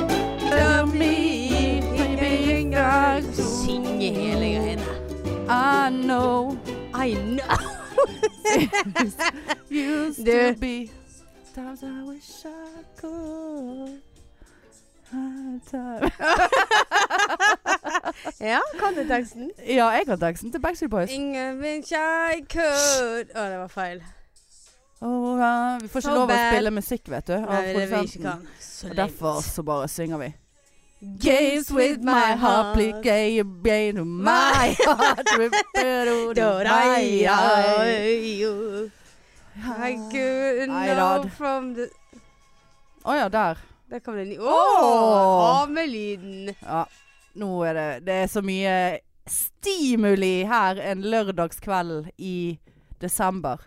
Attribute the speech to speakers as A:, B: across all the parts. A: know, I know used to
B: Du.
A: be times I wish I could. High time.
B: Ja, kan du teksten?
A: Ja, jeg kan teksten til Backstreet Boys.
B: Ingen bitch I could Å, det var feil.
A: Oh, ja. Vi får ikke
B: So
A: lov å
B: bad.
A: spille musikk, vet du. av
B: Nei, det er det vi
A: produsenten.
B: ikke kan. Så
A: Og
B: lame.
A: derfor så bare synger vi. Games with my heart, play gay, gay to my heart, repeat to
B: Da, da,
A: my
B: ja,
A: eye.
B: jo. I could
A: Nei,
B: know
A: Rad.
B: from the
A: Å ja, der.
B: Der kom den. Å!
A: Åh.
B: Amelyden.
A: Ja. Nå er det Det er så mye stimuli her en lørdagskveld i desember.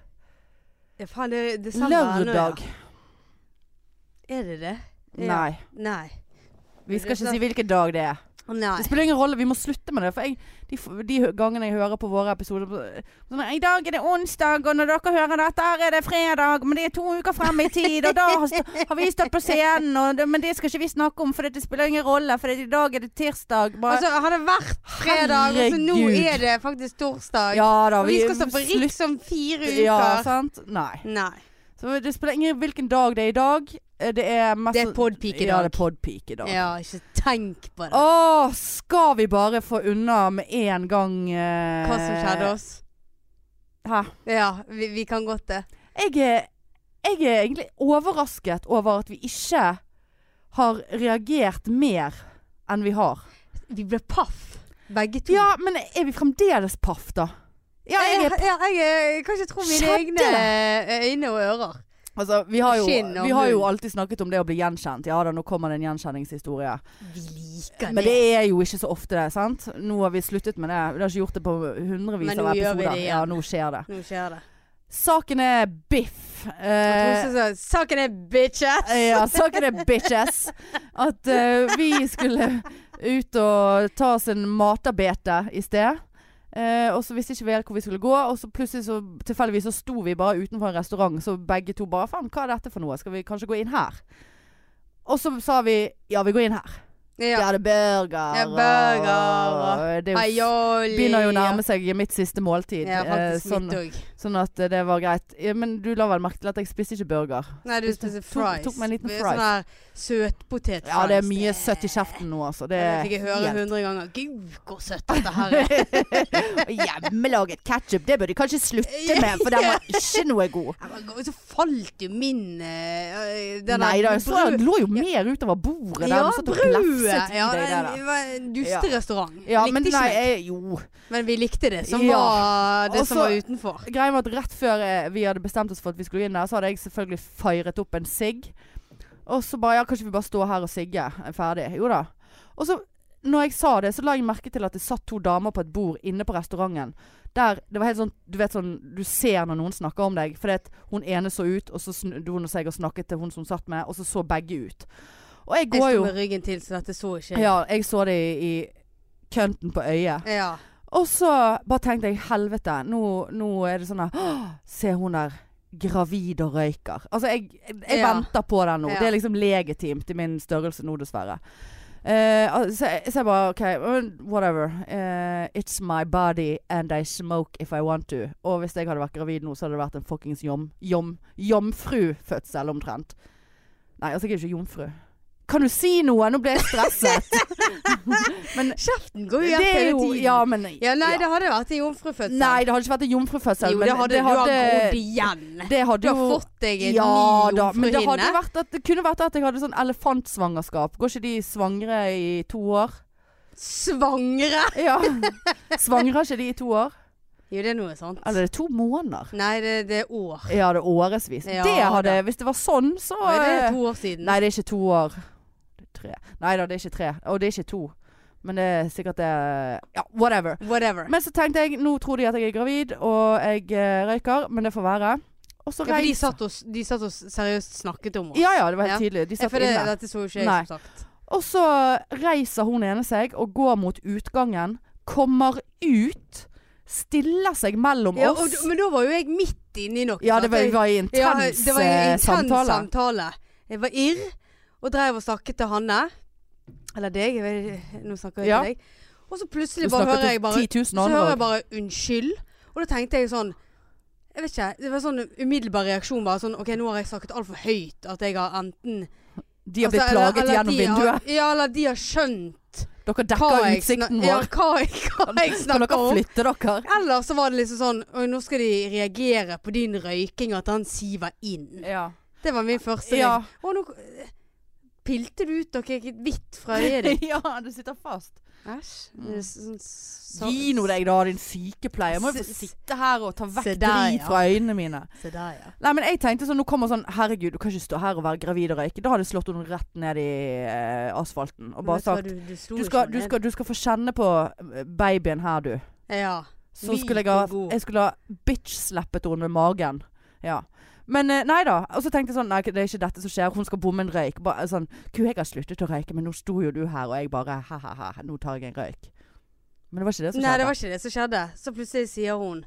B: Ja, faen, det er desember ennå, ja.
A: Lørdag.
B: Er det det? Ja.
A: Nei.
B: Nei.
A: Vi skal ikke si hvilken dag det er.
B: Nei.
A: Det spiller ingen rolle, vi må slutte med det. For jeg, de, f- de gangene jeg hører på våre episoder på- sånn, I dag er det onsdag, og når dere hører dette, her er det fredag. Men det er to uker frem i tid, og da har, st- har vi stått på scenen. Og, det- men det skal ikke vi snakke om, for det spiller ingen rolle. For det- i dag er det tirsdag. Bare,
B: Altså, har det vært fredag, og så nå
A: Herregud.
B: er det faktisk torsdag.
A: ja da,
B: og vi skal stå på
A: slutt-
B: Riks om fire uker.
A: Ja, sant? Nei.
B: Nei.
A: Så det spiller ingen hvilken dag det er i dag. Eh, Det er mest
B: Det er podpeak i
A: Ja, det
B: dag.
A: er podpeak i dag.
B: Altså, Ja, ikke tenk på det.
A: Åh, skal vi bare få unna med en gang eh,
B: Hva som skjedde oss.
A: Hæ?
B: Ja, vi, vi kan godt eh, det.
A: jeg er, jeg er egentlig overrasket over at vi ikke har reagert mer enn vi har.
B: Vi ble paff, begge to.
A: Ja, men er vi fremdeles paff, da? Ja, jeg er
B: ja, jeg, er- kan ikke tro mine
A: Skjedde
B: egne eh, øyne og ører.
A: Altså, vi har, jo,
B: Skinn og
A: vi har jo
B: munn.
A: alltid snakket om det å bli gjenkjent. Ja da, nå kommer det en gjenkjenningshistorie.
B: Vi liker
A: Men det er jo ikke så ofte, det. sant? Nå har vi sluttet med det. Vi har ikke gjort det på hundrevis
B: Men
A: av
B: nå gjør vi det
A: episoder.
B: igjen.
A: Ja, nå skjer det.
B: Nå skjer det.
A: Saken er biff.
B: Jeg tror
A: Eh,
B: også så- Saken er bitches!
A: Ja, saken er bitches. At eh, vi skulle ut og ta oss en matabete i sted. Eh, og så visste ikke vi helt hvor vi skulle gå, og så plutselig så tilfeldigvis så sto vi bare utenfor en restaurant, så begge to bare Faen, hva er dette for noe? Skal vi kanskje gå inn her? Og så sa vi ja, vi går inn her. Ja,
B: Ja.
A: det er burger.
B: Ja, burger,
A: og- Det er jo,
B: Aioli.
A: begynner jo å nærme seg mitt siste måltid. eh,
B: Ja, faktisk
A: sånn,
B: mitt òg.
A: sånn at eh, det var greit. Ja, men du la vel merke til at jeg spiste ikke burger?
B: Nei, du
A: Spiste- tok-
B: spiste fries.
A: tok meg en liten
B: Det er
A: fries.
B: Sånn her søtpotet
A: Ja, det er mye søtt i kjeften nå, altså. Det
B: Det
A: er
B: fikk jeg høre
A: helt-
B: hundre ganger. Gud, hvor søtt dette her er.
A: Og Hjemmelaget ketsjup, det bør de kanskje slutte med, for den var ikke noe god.
B: Jeg bare går- Så falt jo min eh, den der
A: Nei da, jeg så
B: brød-
A: den lå jo mer utover bordet der.
B: Ja,
A: du satt og
B: brødet!
A: glefset i
B: Ja,
A: deg der, da.
B: det var en dusterestaurant.
A: Ja,
B: Likte
A: men
B: ikke
A: nei,
B: meg.
A: jeg, jo.
B: Men vi likte det som
A: Ja.
B: var det som
A: Også-
B: var utenfor.
A: Greia var at rett før eh, vi hadde bestemt oss for at vi skulle inn der, så hadde jeg selvfølgelig firet opp en sigg. Og så bare, ja, kanskje vi bare står her og sigge eh, ferdig. Jo da. Og så, når jeg sa det, så la jeg merke til at det satt to damer på et bord inne på restauranten. Der, det var helt sånn, du vet sånn, du ser når noen snakker om deg. For det at hun ene så ut, og så snudde hun seg og snakket til hun som hun satt med, og så så begge ut. Og jeg
B: Jeg
A: går
B: sto
A: jo,
B: med ryggen til, så dette så ikke jeg.
A: ja, jeg så det i, i kønten på øyet.
B: Ja.
A: Og så bare tenkte jeg helvete, nå, nå er det sånn her «Åh, Se hun der gravid og røyker. Altså jeg, jeg, jeg
B: Ja.
A: venter på den nå.
B: Ja.
A: Det er liksom legitimt i min størrelse nå, dessverre. Eh, al- så, jeg- så jeg bare OK, men whatever. Eh, it's my body and I smoke if I want to. Og hvis jeg hadde vært gravid nå, så hadde det vært en fuckings jom, jom, jomfrufødsel omtrent. Nei, altså jeg er jo ikke jomfru. Kan du si noe? Nå ble jeg stresset.
B: Kjeften går
A: det
B: jo igjen
A: er
B: hele
A: jo
B: tiden.
A: Ja, men
B: Ja, nei, det hadde vært en jomfrufødsel.
A: Nei, det hadde ikke vært en jomfrufødsel.
B: jo,
A: men
B: det hadde,
A: det
B: du
A: hadde,
B: har grodd igjen.
A: det
B: Du
A: hadde
B: har
A: jo
B: fått deg en
A: ja,
B: ny
A: da, men det, hadde
B: jomfruhinne.
A: vært at, det kunne vært at jeg hadde sånn elefantsvangerskap. Går ikke de svangre i to år?
B: Svangre!
A: Ja. Svangrer ikke de i to år?
B: Jo, det er noe sånt.
A: Eller er det to måneder?
B: Nei, det, det er år.
A: Ja, det er årevis.
B: Ja,
A: det hadde,
B: da.
A: hvis det var sånn, så
B: Nei, det
A: eh,
B: er to år siden.
A: Nei, det er ikke to år. Det er tre. Nei da, det er ikke tre. Og det er ikke to. Men det er sikkert det Ja, whatever.
B: Whatever.
A: Men så tenkte jeg, nå tror de at jeg er gravid, og jeg eh, røyker, men det får være. Og så
B: ja, for de
A: reiser
B: satt, oss, de satt oss seriøst snakket om oss.
A: Ja ja, det var helt
B: Ja.
A: tydelig. De
B: Ja,
A: satt
B: for det,
A: inne.
B: dette så jo ikke jeg,
A: Nei.
B: som sagt.
A: Og så reiser hun ene seg og går mot utgangen. Kommer ut. Stiller seg mellom
B: Ja, og,
A: oss.
B: men da var jo jeg midt inne i noe.
A: ja, det
B: sant?
A: var,
B: Jeg-
A: var i
B: Ja,
A: intens,
B: det var jo
A: eh,
B: en intens
A: samtale.
B: samtale. Jeg var irr og drev og snakket til Hanne. Eller deg, jeg vet, ikke- nå snakker jeg
A: Ja.
B: til deg. Og så
A: Du
B: plutselig bare
A: snakket
B: hører jeg bare
A: til 10 000
B: Så hører jeg
A: andre.
B: bare 'unnskyld', og da tenkte jeg sånn Jeg vet ikke. Det var sånn umiddelbar reaksjon. Bare sånn OK, nå har jeg snakket altfor høyt. At jeg har enten
A: De har blitt
B: altså, eller-
A: plaget
B: eller
A: gjennom
B: de har-
A: vinduet.
B: Ja, eller de har skjønt
A: Dere
B: hva
A: dekker
B: jeg
A: utsikten
B: snak- Ja,
A: vår.
B: hva jeg, hva jeg
A: Kan
B: snakker
A: dere
B: om.
A: flytte dere?
B: Eller så var det liksom sånn Oi, nå skal de reagere på din røyking, at han siver inn.
A: Ja.
B: Det var min første
A: Ja.
B: reaksjon. Å, nå pilte du ut noe hvitt fra øyet ditt.
A: ja, det sitter fast.
B: Æsj.
A: Mm.
B: Det er sånn sa-
A: Gi nå deg da, din sykepleier. Jeg må jo
B: Se-
A: få sitte her og ta vekk
B: Se der,
A: drit
B: ja.
A: fra øynene mine.
B: Se der, ja.
A: Nei, men jeg tenkte sånn, nå kommer sånn Herregud, du kan ikke stå her og være gravid og røyke. Da hadde jeg slått henne rett ned i eh, asfalten og
B: Men
A: bare sagt
B: vet du hva, du, du, slo
A: du
B: jo
A: skal,
B: ikke
A: du,
B: ned.
A: skal, du skal få kjenne på eh, babyen her, du.
B: Ja.
A: Så
B: Myk
A: skulle jeg ha
B: og god.
A: Jeg skulle ha bitch-slappet henne med magen. Ja. Men eh, nei da. Og så tenkte jeg sånn Nei, det er ikke dette som skjer. Hun skal bomme en røyk. Bare sånn Gud, jeg har sluttet å røyke, men nå sto jo du her, og jeg bare ha-ha-ha, nå tar jeg en røyk. Men det var ikke det som
B: Nei, det
A: skjedde.
B: var ikke det som skjedde. Så plutselig sier hun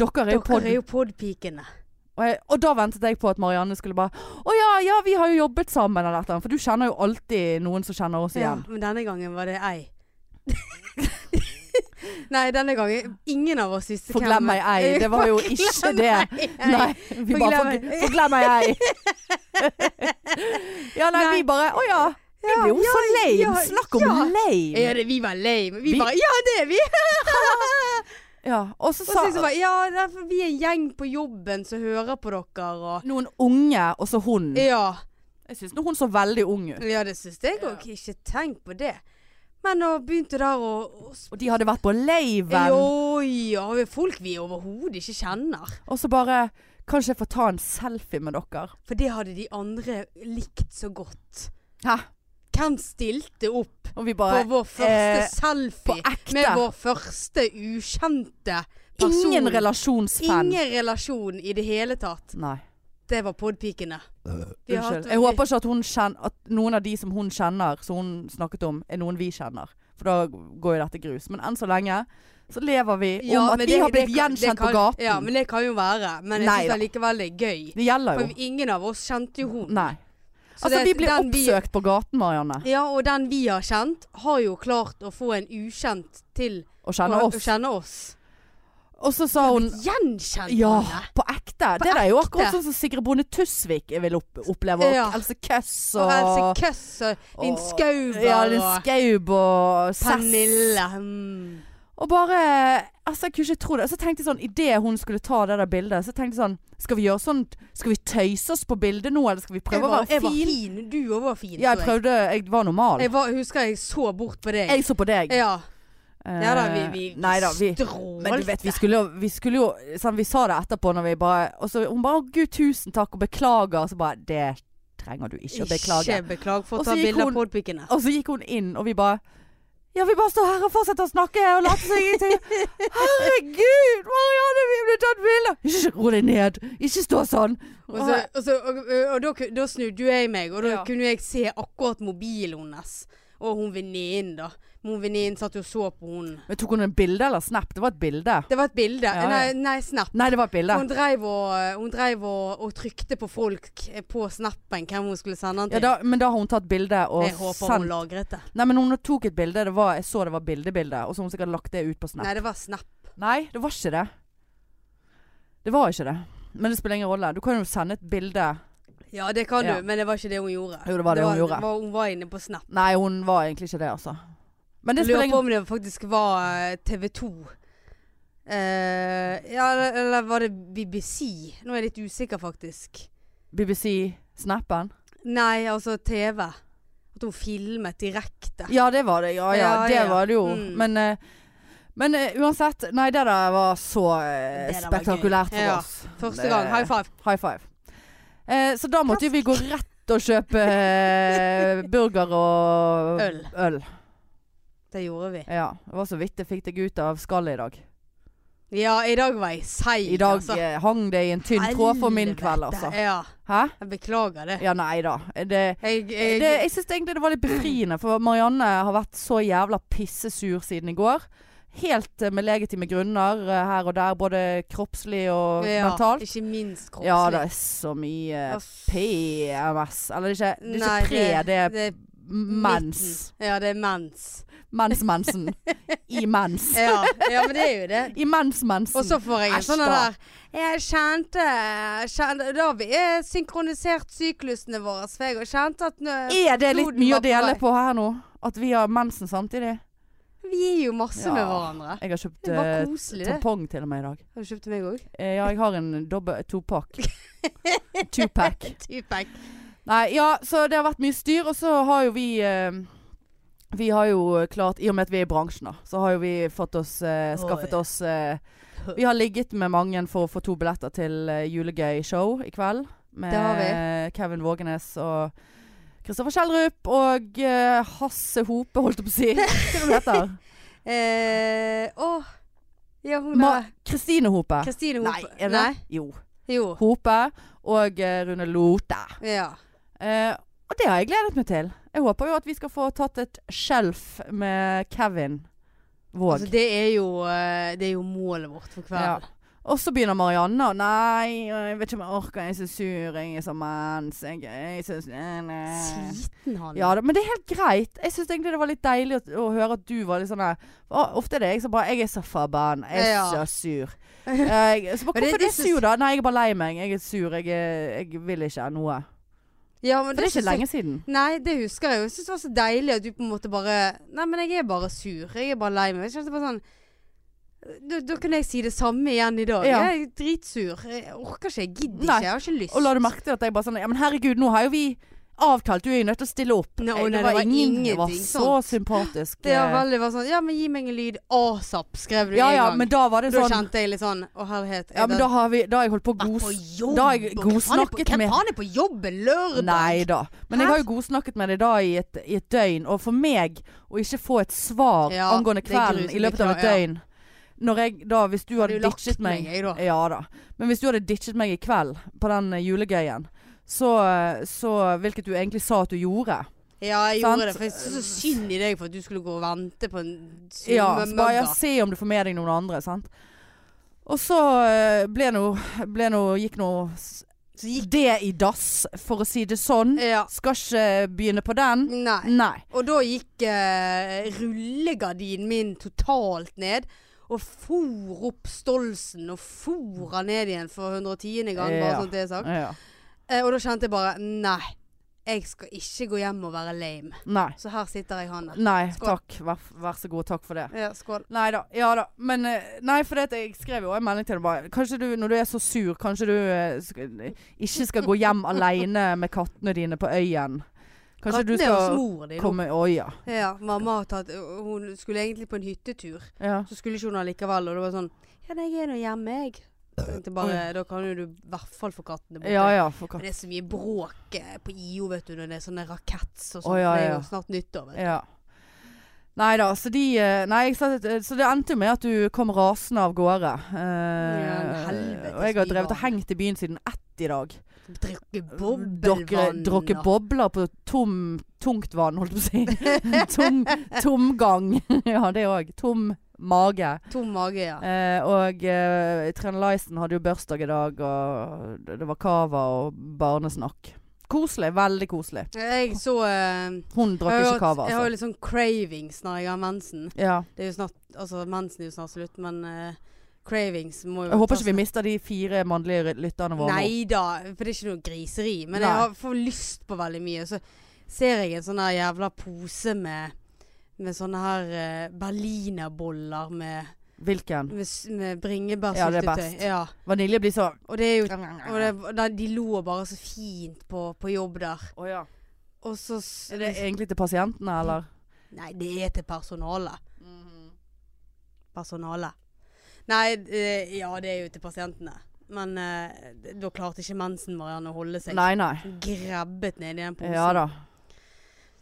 A: Dere er jo
B: Dere
A: pod...
B: er jo podpikene.
A: Og, jeg, og da ventet jeg på at Marianne skulle bare Å ja, ja, vi har jo jobbet sammen eller et eller annet. For du kjenner jo alltid noen som kjenner oss igjen.
B: men denne gangen var det ei. Nei, denne gangen Ingen av oss visste
A: For glem meg ei. Det var jo ikke det. Nei. Vi
B: For
A: bare
B: glem
A: For for glem meg ei. Ja, nei,
B: Nei.
A: vi bare Å ja. Vi blir jo så lame. Snakk om lame.
B: Ja, det, vi var lame. Vi,
A: Vi-
B: bare Ja, det er vi!
A: Ja. Og så
B: Og så liksom
A: sa
B: bare Ja, det er for vi er en gjeng på jobben som hører på dere og
A: noen unge, og så hun.
B: Ja.
A: Jeg syns hun så veldig ung ut.
B: Ja, det syns jeg òg. Ikke tenk på det. Men nå begynte der å å
A: Og de hadde vært på laven.
B: Jo, ja, vi er folk vi overhodet ikke kjenner.
A: Og så bare Kanskje jeg får ta en selfie med dere.
B: For det hadde de andre likt så godt.
A: Hæ?
B: Hvem stilte opp
A: Og vi
B: på
A: bare
B: vår første
A: eh,
B: selfie
A: på ekte.
B: med vår første ukjente person?
A: Ingen relasjonsfan.
B: Ingen relasjon i det hele tatt.
A: Nei.
B: Det var podpikene. Vi har
A: Unnskyld.
B: hatt-
A: Jeg håper ikke at, hun kjen- at noen av de som hun kjenner, som hun snakket om, er noen vi kjenner. For da går jo dette grus. Men enn så lenge så lever vi om
B: Ja,
A: at
B: men
A: de
B: det-
A: har blitt
B: det kan- det
A: gjenkjent
B: kan-
A: på gaten.
B: Ja, men det kan jo være. Men jeg
A: Nei
B: syns
A: da.
B: allikevel det er gøy.
A: det gjelder jo.
B: For ingen av oss kjente jo hun.
A: Nei.
B: Så
A: Altså,
B: det-
A: vi blir
B: den
A: oppsøkt på gaten, Marianne.
B: Ja, og den vi har kjent, har jo klart å få en ukjent til
A: Og
B: å-
A: kjenner
B: å
A: oss.
B: kjenne oss.
A: Og så sa hun
B: Gjenkjent
A: Ja,
B: henne.
A: på ekte. det er jo akkurat sånn som Sigrid Bonde Tusvik vil opp oppleve. Og
B: Ja.
A: Else Køss
B: Og
A: og
B: Else Køss og Linn
A: og-
B: Skauber
A: Ja, Linn
B: og
A: Skaub og Sess.
B: Pernille. Mm.
A: Og bare Altså, jeg kunne ikke tro det. Så tenkte jeg sånn Idet hun skulle ta det der bildet, så tenkte jeg sånn Skal vi gjøre sånn Skal vi tøyse oss på bildet nå, eller skal vi prøve
B: Jeg,
A: å
B: var,
A: være
B: jeg var
A: fin?
B: fin. Du òg var fin.
A: Ja, jeg
B: tror
A: prøvde Jeg var normal.
B: Jeg var, husker jeg så bort på deg.
A: Jeg så på deg.
B: ja.
A: Eh,
B: ja da, vi, vi,
A: Nei da, vi
B: strålte.
A: men du vet, vi skulle jo, vi, skulle jo sånn, vi sa det etterpå når vi bare Og så hun bare 'Å gud, tusen takk', og beklager. Og så bare 'Det trenger du ikke å beklage'.
B: Ikke beklag for
A: Og
B: å
A: så
B: ta
A: gikk
B: bilde
A: hun-
B: av podpikene.
A: Og så gikk hun inn, og vi bare Ja, vi bare står her og fortsetter å snakke og later som ingenting. Herregud, Marianne, vi ble tatt bilde! Ikke ro deg ned. Ikke stå sånn.
B: Og, så, og, så, og, og da, ku- da snudde jo jeg meg, og da
A: Ja.
B: kunne jeg se akkurat mobilen hennes. Og hun venninnen, da. Men Hun venninnen satt jo og så på hun.
A: Men tok hun en bilde eller snap? Det var et bilde.
B: Det var et bilde.
A: Ja, ja.
B: Nei, nei, snap.
A: Nei, det var et bilde.
B: Hun dreiv og, eh, hun dreiv og, og trykte på folk eh, på snappen hvem hun skulle sende den
A: Ja,
B: til.
A: da, men da har hun tatt bilde og
B: jeg håper hun
A: sendt
B: lagret det.
A: Nei, men hun tok et bilde. Det var, jeg så det var bildebilde, og så har hun sikkert lagt det ut på snap.
B: Nei, det var snap.
A: Nei, det var ikke det. Det var ikke det. Men det spiller ingen rolle. Du kan jo sende et bilde
B: Ja, det kan
A: Ja.
B: du, men det var ikke det hun gjorde.
A: Jo, det var det hun gjorde.
B: Var, hun var inne på snap.
A: Nei, hun var egentlig ikke det, altså. Men det
B: Jeg
A: spiller
B: lurer på
A: ingen
B: om det faktisk var eh, TV 2. Eh, ja, eller- eller var det BBC? Nå er jeg litt usikker, faktisk.
A: BBC-snappen?
B: Nei, altså TV. At hun filmet direkte.
A: Ja, det var det. Ja, ja.
B: Ah. Ja,
A: det
B: ja, ja.
A: var det jo.
B: Mm.
A: Men, eh, men eh, uansett. Nei, det der var så eh,
B: Det der var
A: spektakulært
B: gøy.
A: for
B: Ja.
A: oss.
B: Første
A: Det-
B: gang. High five.
A: High five. Eh, så da måtte jo vi gå rett og kjøpe eh, burger og
B: Øl.
A: øl.
B: Det gjorde vi.
A: Ja. Det var så vidt jeg fikk deg ut av skallet i dag.
B: Ja, i dag var jeg seig.
A: I dag
B: altså.
A: eh, hang det i en tynn tråd for min
B: Helvete.
A: kveld, altså.
B: Ja.
A: Hæ?
B: Jeg beklager det.
A: Ja, nei da. Det,
B: Jeg, Eh, jeg,
A: det, jeg syns egentlig det var litt befriende, for Marianne har vært så jævla pissesur siden i går. Helt eh, med legitime grunner eh, her og der, både kroppslig og
B: ja,
A: mentalt.
B: Ikke minst kroppslig.
A: Ja, det er så mye eh,
B: Ass.
A: PMS. Eller det er ikke, det er
B: Nei,
A: ikke pre, det,
B: det er
A: mens.
B: Ja, det er mens.
A: Mens mensen. I mens.
B: Ja, ja men det er jo det.
A: I mens mensen.
B: Eh, Og så får jeg en
A: Æsj,
B: sånn
A: da.
B: der Jeg kjente, kjente Da har vi eh, synkronisert syklusene våre, for jeg har kjent at nå,
A: er det litt
B: Floden
A: mye
B: var
A: å
B: på
A: dele
B: vei.
A: på her nå? At vi har mensen samtidig?
B: Vi gir jo masse med
A: Ja.
B: hverandre.
A: Jeg har kjøpt
B: Det er bare
A: eh,
B: koselig, det.
A: tampong til meg i dag.
B: Har du kjøpt til meg òg?
A: Eh, ja, jeg har en dobbel topack. Tupac.
B: Tupac.
A: Nei, ja, så det har vært mye styr, og så har jo vi eh, Vi har jo klart, i og med at vi er i bransjen, da, så har jo vi fått oss eh, Skaffet
B: Oi.
A: oss eh, Vi har ligget med mange for å få to billetter til eh, julegøy-show i kveld. Med
B: Det har
A: Kevin Vågenes og Kristoffer Schjelderup og eh, Hasse Hope, holdt jeg på å si. Hva er det hun heter
B: Eh, åh. Ja, hun
A: Ma-
B: der.
A: Kristine Hope.
B: Kristine
A: Nei,
B: Hope.
A: er det det? Jo.
B: Jo.
A: Hope og eh, Rune Lote.
B: Ja.
A: Eh, og det har jeg gledet meg til. Jeg håper jo at vi skal få tatt et skjelf med Kevin Våg.
B: Altså, det er jo eh, Det er jo målet vårt for
A: ja.
B: kvelden.
A: Og så begynner Marianne og Nei, jeg vet ikke om jeg orker. Jeg er så sur. Jeg er så mens. Jeg, jeg synes, nei, nei.
B: Eh. Sliten han.
A: Ja, da, men det er helt greit. Jeg syns egentlig det var litt deilig å, å høre at du var litt sånn der «Å, Ofte er det jeg som bare Jeg er så forbanna. Jeg er
B: Ja.
A: så sur. Jeg, så bare,
B: Men det-
A: hvorfor er
B: det
A: du
B: synes-
A: sur, da? Nei, jeg er bare lei meg. Jeg er sur. Jeg, er- jeg vil ikke noe.
B: Ja, men
A: For det er
B: synes
A: ikke
B: jeg-
A: lenge siden.
B: Nei, det husker jeg jo. Jeg synes det var så deilig at du på en måte bare Nei, men jeg er bare sur. Jeg er bare lei meg. Jeg kjente bare sånn da, da kunne jeg si det samme igjen i dag.
A: Ja.
B: Jeg er dritsur. Jeg orker ikke. Jeg gidder
A: Nei.
B: ikke. Jeg har ikke lyst.
A: Og la du merke til at jeg bare sånn Ja, men herregud, nå har jo vi avtalt. Du er jo nødt til å stille opp.
B: Nei,
A: Jeg-
B: å, nei,
A: det var ingen
B: ingenting Sånn.
A: Det var så sympatisk.
B: Det var
A: eh,
B: veldig bare sånn Ja, men gi meg en lyd asap, skrev du
A: ja,
B: en
A: ja,
B: gang.
A: men da var det
B: da
A: sånn
B: kjente jeg litt sånn Å, herlighet.
A: Ja, men da har, vi, da har jeg holdt på å
B: vært på
A: gos...
B: jobb.
A: da har jeg
B: og hvem faen er på-
A: godsnakket med-
B: Hvem faen er på jobb en lørdag?
A: Nei da. Men jeg
B: Hæ?
A: har jo godsnakket med deg da i et, i et døgn. Og for meg å ikke få et svar
B: Ja,
A: angående
B: det er
A: kvelden
B: grusomt,
A: i løpet av
B: det
A: et
B: er klart, ja.
A: døgn Når jeg da, hvis du
B: Hadde
A: hadde
B: jo lagt
A: ditchet meg
B: meg, jeg, da.
A: Ja da. Men hvis du hadde ditchet meg i kveld på den eh, julegøyen, så, eh, så Hvilket du egentlig sa at du gjorde.
B: Ja, jeg
A: Sant?
B: gjorde det. For jeg syntes så synd i deg for at du skulle gå og vente på en
A: Ja, så bare ja,
B: summemøgga.
A: se om du får med deg noen andre, sant. Og så eh, ble nå ble nå- Gikk nå s-
B: Så gikk
A: det i dass, for å si det sånn.
B: Ja.
A: Skal ikke eh, begynne på den.
B: Nei.
A: Nei.
B: Og da gikk eh, rullegardinen min totalt ned. Og for opp Stolsen og for han ned igjen for 110. gang, bare
A: Ja.
B: sånn at det er sagt.
A: Ja.
B: Eh, og da kjente jeg bare Nei, jeg skal ikke gå hjem og være lame.
A: Nei.
B: Så her sitter jeg, Hanne.
A: Nei,
B: Skål.
A: takk. Vær, vær så god. Takk for det.
B: Ja, skål.
A: Nei da. Ja da. Men eh, Nei, for det at jeg skrev jo også en melding til deg bare Kanskje du, når du er så sur, kanskje du eh, sk- ikke skal gå hjem aleine med kattene dine på øyen. Kanskje
B: Katten
A: du
B: er hos
A: skal
B: mor di nå.
A: komme Å ja.
B: Ja, mamma har tatt Hun skulle egentlig på en hyttetur.
A: ja.
B: Så skulle ikke hun allikevel, og det var sånn Ja, nei, jeg er nå hjemme, jeg. Så tenkte jeg bare, da kan jo du i hvert fall få kattene borte.
A: Ja ja, for katt...
B: Men det er så mye bråk eh, på IO, vet du, når det er sånne raketts og sånt.
A: Å, ja,
B: for Det er
A: ja.
B: jo snart nyttår, vet du.
A: Ja. Nei da, så de eh, Nei, jeg satt, et- så det endte jo med at du kom rasende av gårde. Eh,
B: Ja, helvetes
A: og jeg har drevet og
B: bybarn.
A: hengt i byen siden ett i dag.
B: Drikke
A: Dere
B: boblvann.
A: drukke
B: og-
A: bobler på tom, tungt vann, holdt jeg på å si. Tom, tomgang. ja, det òg. Tom mage.
B: Tom mage, ja.
A: Eh, og eh, Trine Lysen hadde jo bursdag i dag, og det- det var cava og barnesnakk. Koselig. Veldig koselig.
B: Jeg så eh,
A: Hun
B: jeg har
A: drakk
B: jo
A: ikke
B: hatt-
A: cava,
B: Jeg har jo
A: altså.
B: litt sånn cravings når jeg har mensen.
A: Ja.
B: Det er jo snart, altså mensen er jo snart slutt, men eh, cravings må jo
A: Jeg håper ikke vi mister de fire mannlige ry- lytterne våre. nå.
B: Nei da, for det er ikke noe griseri. Men
A: Nei.
B: jeg har, får lyst på veldig mye. Så ser jeg en sånn her jævla pose med, med sånne her eh, berlinerboller med,
A: Hvilken?
B: med, s- med
A: Ja, det er
B: bringebærsyltetøy.
A: best.
B: Ja,
A: Vanilje blir så
B: og det er jo og det,
A: Å
B: og da, De lå bare så fint på, på jobb der.
A: ja.
B: Og så s-
A: Er det egentlig til pasientene, eller?
B: Nei, det er til personalet. Mhm. Personalet. Nei, eh, ja, det er jo til pasientene. Men eh, da klarte ikke mensen Marianne å holde seg.
A: Nei, nei.
B: Grabbet ned i den posen.
A: Ja da.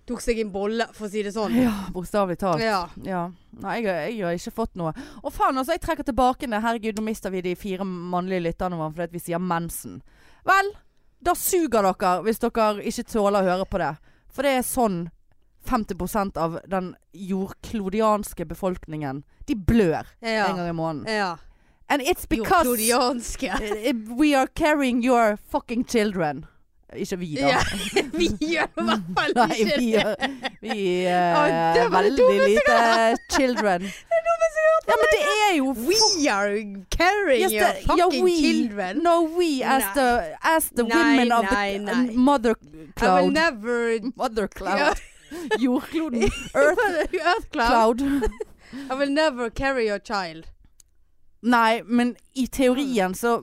B: Tok seg en bolle, for å si det sånn.
A: Ja, bokstavelig talt.
B: Ja.
A: Ja. Nei, jeg, jeg har ikke fått noe. Å faen, altså. Jeg trekker tilbake det. Herregud, nå mister vi de fire mannlige lytterne våre fordi at vi sier mensen. Vel, da suger dere hvis dere ikke tåler å høre på det. For det er sånn 50 av den jordklodianske befolkningen De blør en
B: Ja.
A: gang i måneden.
B: ja.
A: And it's
B: Jo,
A: because
B: Klodianske.
A: eh, we are carrying your fucking children. Ikke vi, da.
B: Ja, vi gjør i hvert fall
A: Nei, vi
B: ikke det.
A: gjør vi er
B: Å, det var det
A: veldig
B: dummeste jeg
A: lite children.
B: er
A: Ja, men det er jo
B: We are carrying
A: Yes,
B: your
A: the-
B: fucking
A: yeah, we-
B: children.
A: No, we as
B: Nei.
A: the, as the
B: Nei,
A: women of
B: nei,
A: the
B: nei.
A: mother
B: I will
A: cloud.
B: never
A: Mother
B: Ja.
A: cloud. Jordkloden. Earth
B: Earth cloud.
A: cloud.
B: I will never carry your child.
A: Nei, men i teorien så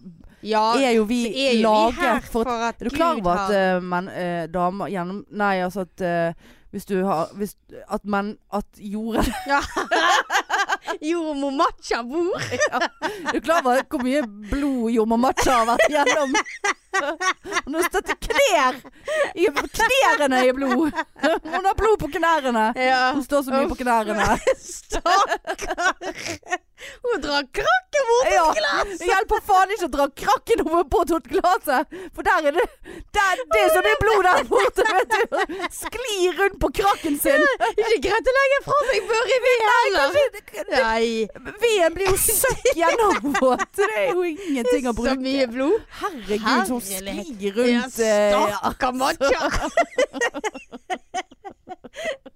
B: Ja,
A: er jo vi
B: så er jo vi her
A: laget for
B: for at
A: Er du klar
B: Gud
A: over at eh,
B: har-
A: menn, eh, damer gjennom Nei, altså at eh, hvis du har hvis, At menn At jorden
B: Jordmor Matcha bor.
A: Er du klar over hvor mye blod Jorma Matcha har vært gjennom? Hun har stått i knær! I knærne i blod! Hun har blod på knærne!
B: Ja.
A: Hun står så mye på knærne.
B: Stakkar. Hun drar krakken mot
A: Ja, det hjelper faen ikke å dra krakken over på til glasset, for der er det der, Det er så mye blod der borte, vet du. Sklir rundt på krakken sin.
B: Ikke greit å legge fra seg bør i ved heller. Nei,
A: Veden blir jo søkk gjennomvåt. Det er jo ingenting å
B: så
A: bruke.
B: mye blod.
A: Herregud, så hun
B: Herlighet.
A: sklir
B: Ja,
A: rundt eh, ja.
B: stakkar matcha.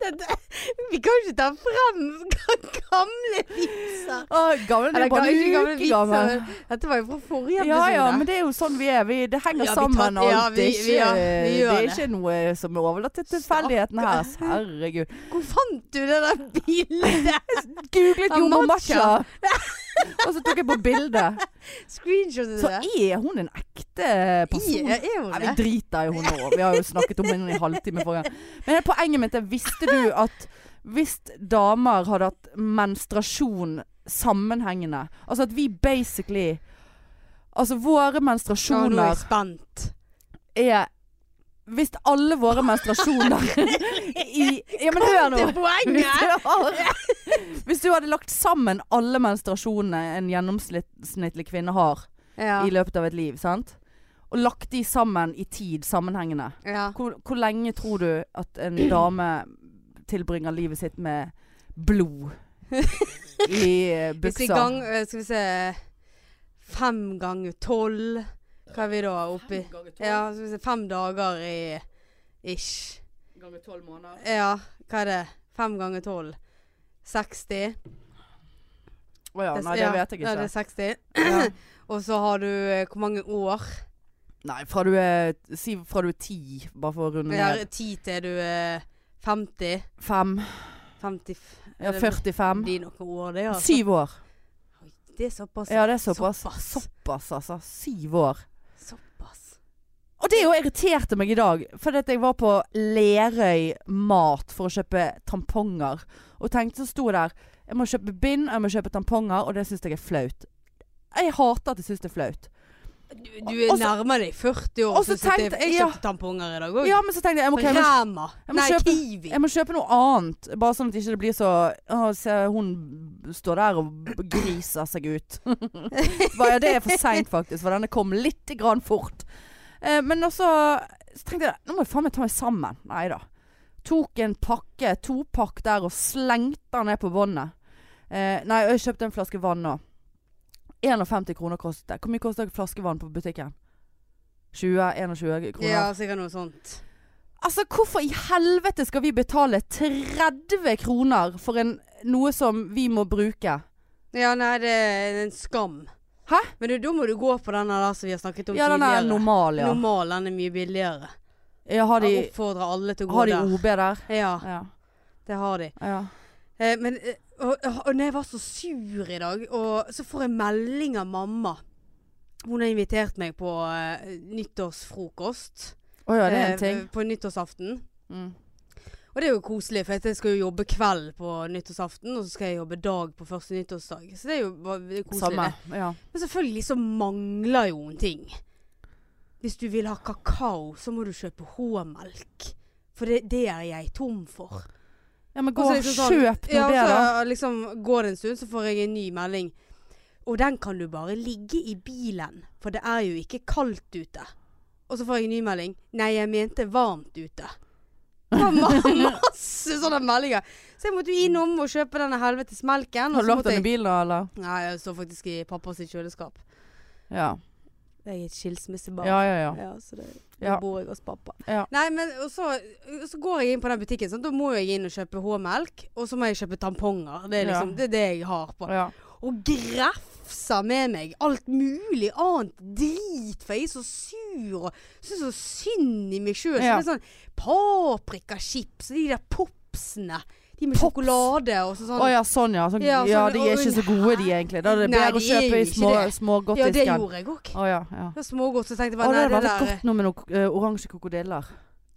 B: Dette- Vi kan ikke ta frem gamle viser.
A: Å, Gammel
B: Eller
A: blir bare
B: ikke
A: en
B: gamle
A: uke gammel.
B: viser. Dette var jo fra forrige episode.
A: Ja ja, men det er jo sånn vi er. Vi, det henger
B: Ja, vi
A: sammen
B: tar- ja,
A: alt.
B: vi-
A: Det er
B: vi- ja,
A: ikke,
B: vi
A: det
B: gjør
A: er
B: det.
A: ikke noe eh, som er overlatt til tilfeldighetene her. altså. Herregud.
B: Hvor fant du det der bildet?
A: Googlet
B: Av
A: jo mamma
B: matcha.
A: matcha. Og så tok jeg på bilde.
B: Screenshotet
A: Så
B: det?
A: er hun en ekte person?
B: Ja, er hun
A: Nei,
B: det?
A: vi driter i henne nå. Vi har jo snakket om henne i en halvtime forrige gang. Men poenget mitt er, visste du at hvis damer hadde hatt menstruasjon sammenhengende Altså at vi basically Altså våre
B: Å, nå er jeg
A: menstruasjoner
B: spent.
A: er Hvis alle våre menstruasjoner i Ja, men hør nå.
B: Til
A: Hvis
B: poenget!
A: du, har, hvis du hadde lagt sammen alle menstruasjonene en gjennomsnittlig kvinne har
B: Ja.
A: i løpet av et liv, sant? Og lagt de sammen i tid sammenhengende.
B: ja.
A: Hvor, hvor lenge tror du at en dame tilbringer livet sitt med blod i eh,
B: Hvis vi
A: buksa?
B: gang, eh, skal vi se Fem ganger tolv. Hva er vi da oppi? Ja, skal vi se Fem dager i ish.
A: ganger tolv måneder.
B: Ja, hva er det? Fem ganger tolv. 60.
A: Å ja, nei, det vet jeg
B: Ja,
A: ikke.
B: det er 60.
A: Ja.
B: Og så har du eh, hvor mange år?
A: Nei, fra du er Si fra du er ti, bare for å runde
B: Det er
A: ned.
B: 10 til du eh, er 50.
A: Fem.
B: 50
A: Ja, 45.
B: blir noen år, det. Altså.
A: Syv år.
B: Oi, Det er såpass.
A: Ja, det er såpass.
B: Altså, Såpass.
A: Såpass, altså. Syv år.
B: såpass.
A: Og det jo irriterte meg i dag, fordi at jeg var på Lerøy Mat for å kjøpe tamponger. Og tenkte så sto jeg der Jeg må kjøpe bind, og jeg må kjøpe tamponger, og det syns jeg er flaut. Jeg hater at jeg syns det er flaut.
B: Du, du er
A: Og så-
B: nærmere deg 40 år,
A: Og
B: så
A: så
B: jeg
A: tenkte- ja.
B: kjøpte tamponger i dag òg.
A: Ja, men så tenkte jeg jeg må, ok, jeg må,
B: Rema.
A: jeg må
B: Nei,
A: kjøpe-
B: Kiwi.
A: jeg må kjøpe noe annet. Bare sånn at ikke det blir så Å, se hun står der og griser seg ut. Bare, ja, det er for seint, faktisk, for denne kom litt grann fort. Eh, men også så tenkte jeg nå må jeg faen meg ta meg sammen. Nei da. Tok en pakke, topakk der, og slengte den ned på båndet. Eh, nei, og jeg kjøpte en flaske vann òg. 51 kroner kostet det. Hvor mye koster en flaske vann på butikken? 20-21 kroner?
B: Ja, sikkert noe sånt.
A: Altså, hvorfor i helvete skal vi betale 30 kroner for en, noe som vi må bruke?
B: Ja, nei, det er en skam.
A: Hæ?
B: Men du, da må du gå på den der som vi har snakket om
A: Ja, den er
B: tidligere.
A: normal, ja.
B: Normal, den er mye billigere.
A: ja har,
B: Jeg
A: de,
B: oppfordrer alle til å gå
A: har de
B: der.
A: OB der?
B: Ja,
A: Ja.
B: det har de.
A: ja.
B: Eh, men eh, og, og når jeg var så sur i dag, og så får jeg melding av mamma. Hun har invitert meg på eh, nyttårsfrokost.
A: Å ja, det er
B: eh,
A: en ting.
B: På nyttårsaften.
A: Mm.
B: Og det er jo koselig, for at jeg skal jo jobbe kveld på nyttårsaften, og så skal jeg jobbe dag på første nyttårsdag. Så det er jo bare- det er koselig. Eh,
A: Samme.
B: det.
A: Ja.
B: Men selvfølgelig så mangler jo en ting. Hvis du vil ha kakao, så må du kjøpe H-melk. For det, det er jeg tom for.
A: ja, men gå
B: Og så
A: og
B: liksom sånn-
A: kjøp noe
B: Ja, og
A: det, da.
B: så liksom går det en stund, så får jeg en ny melding. Og den kan du bare ligge i bilen, for det er jo ikke kaldt ute. Og så får jeg en ny melding. Nei, jeg mente varmt ute. Det var ma- masse sånne meldinger. Så jeg måtte jo innom og kjøpe denne helvetes melken. og
A: Har
B: så
A: du lagt
B: måtte
A: den i
B: jeg-
A: bilen, da, eller?
B: Nei, jeg står faktisk i pappas kjøleskap.
A: Ja.
B: Jeg er et skilsmissebarn.
A: Ja, ja, ja.
B: Ja, så det, da
A: Ja.
B: bor jeg hos pappa.
A: Ja.
B: Nei, men og så, og så går jeg inn på den butikken, sant? da må jeg inn og kjøpe H-melk. Og så må jeg kjøpe tamponger. Det er liksom
A: Ja.
B: det, er det jeg har på.
A: ja.
B: Og grefser med meg alt mulig annet drit, for jeg er så sur og syns så synd i meg sjøl.
A: Ja.
B: Sånn paprikachips og de der popsene. De med
A: Pops?
B: sjokolade og
A: Å
B: så sånn.
A: ja, sånn ja. Sånn, ja,
B: Ja, sånn,
A: de er ikke så gode de egentlig. Da er det
B: Nei,
A: bedre å
B: de er jo
A: kjøpe i
B: ikke
A: små,
B: det. Ja, det
A: smågodtdisken.
B: gjorde jeg òg.
A: Å ja. ja.
B: Det var smågodt, så tenkte jeg
A: Å,
B: bare
A: det
B: nei,
A: hadde
B: det
A: vært litt
B: der
A: godt nå med noen eh, oransje krokodiller.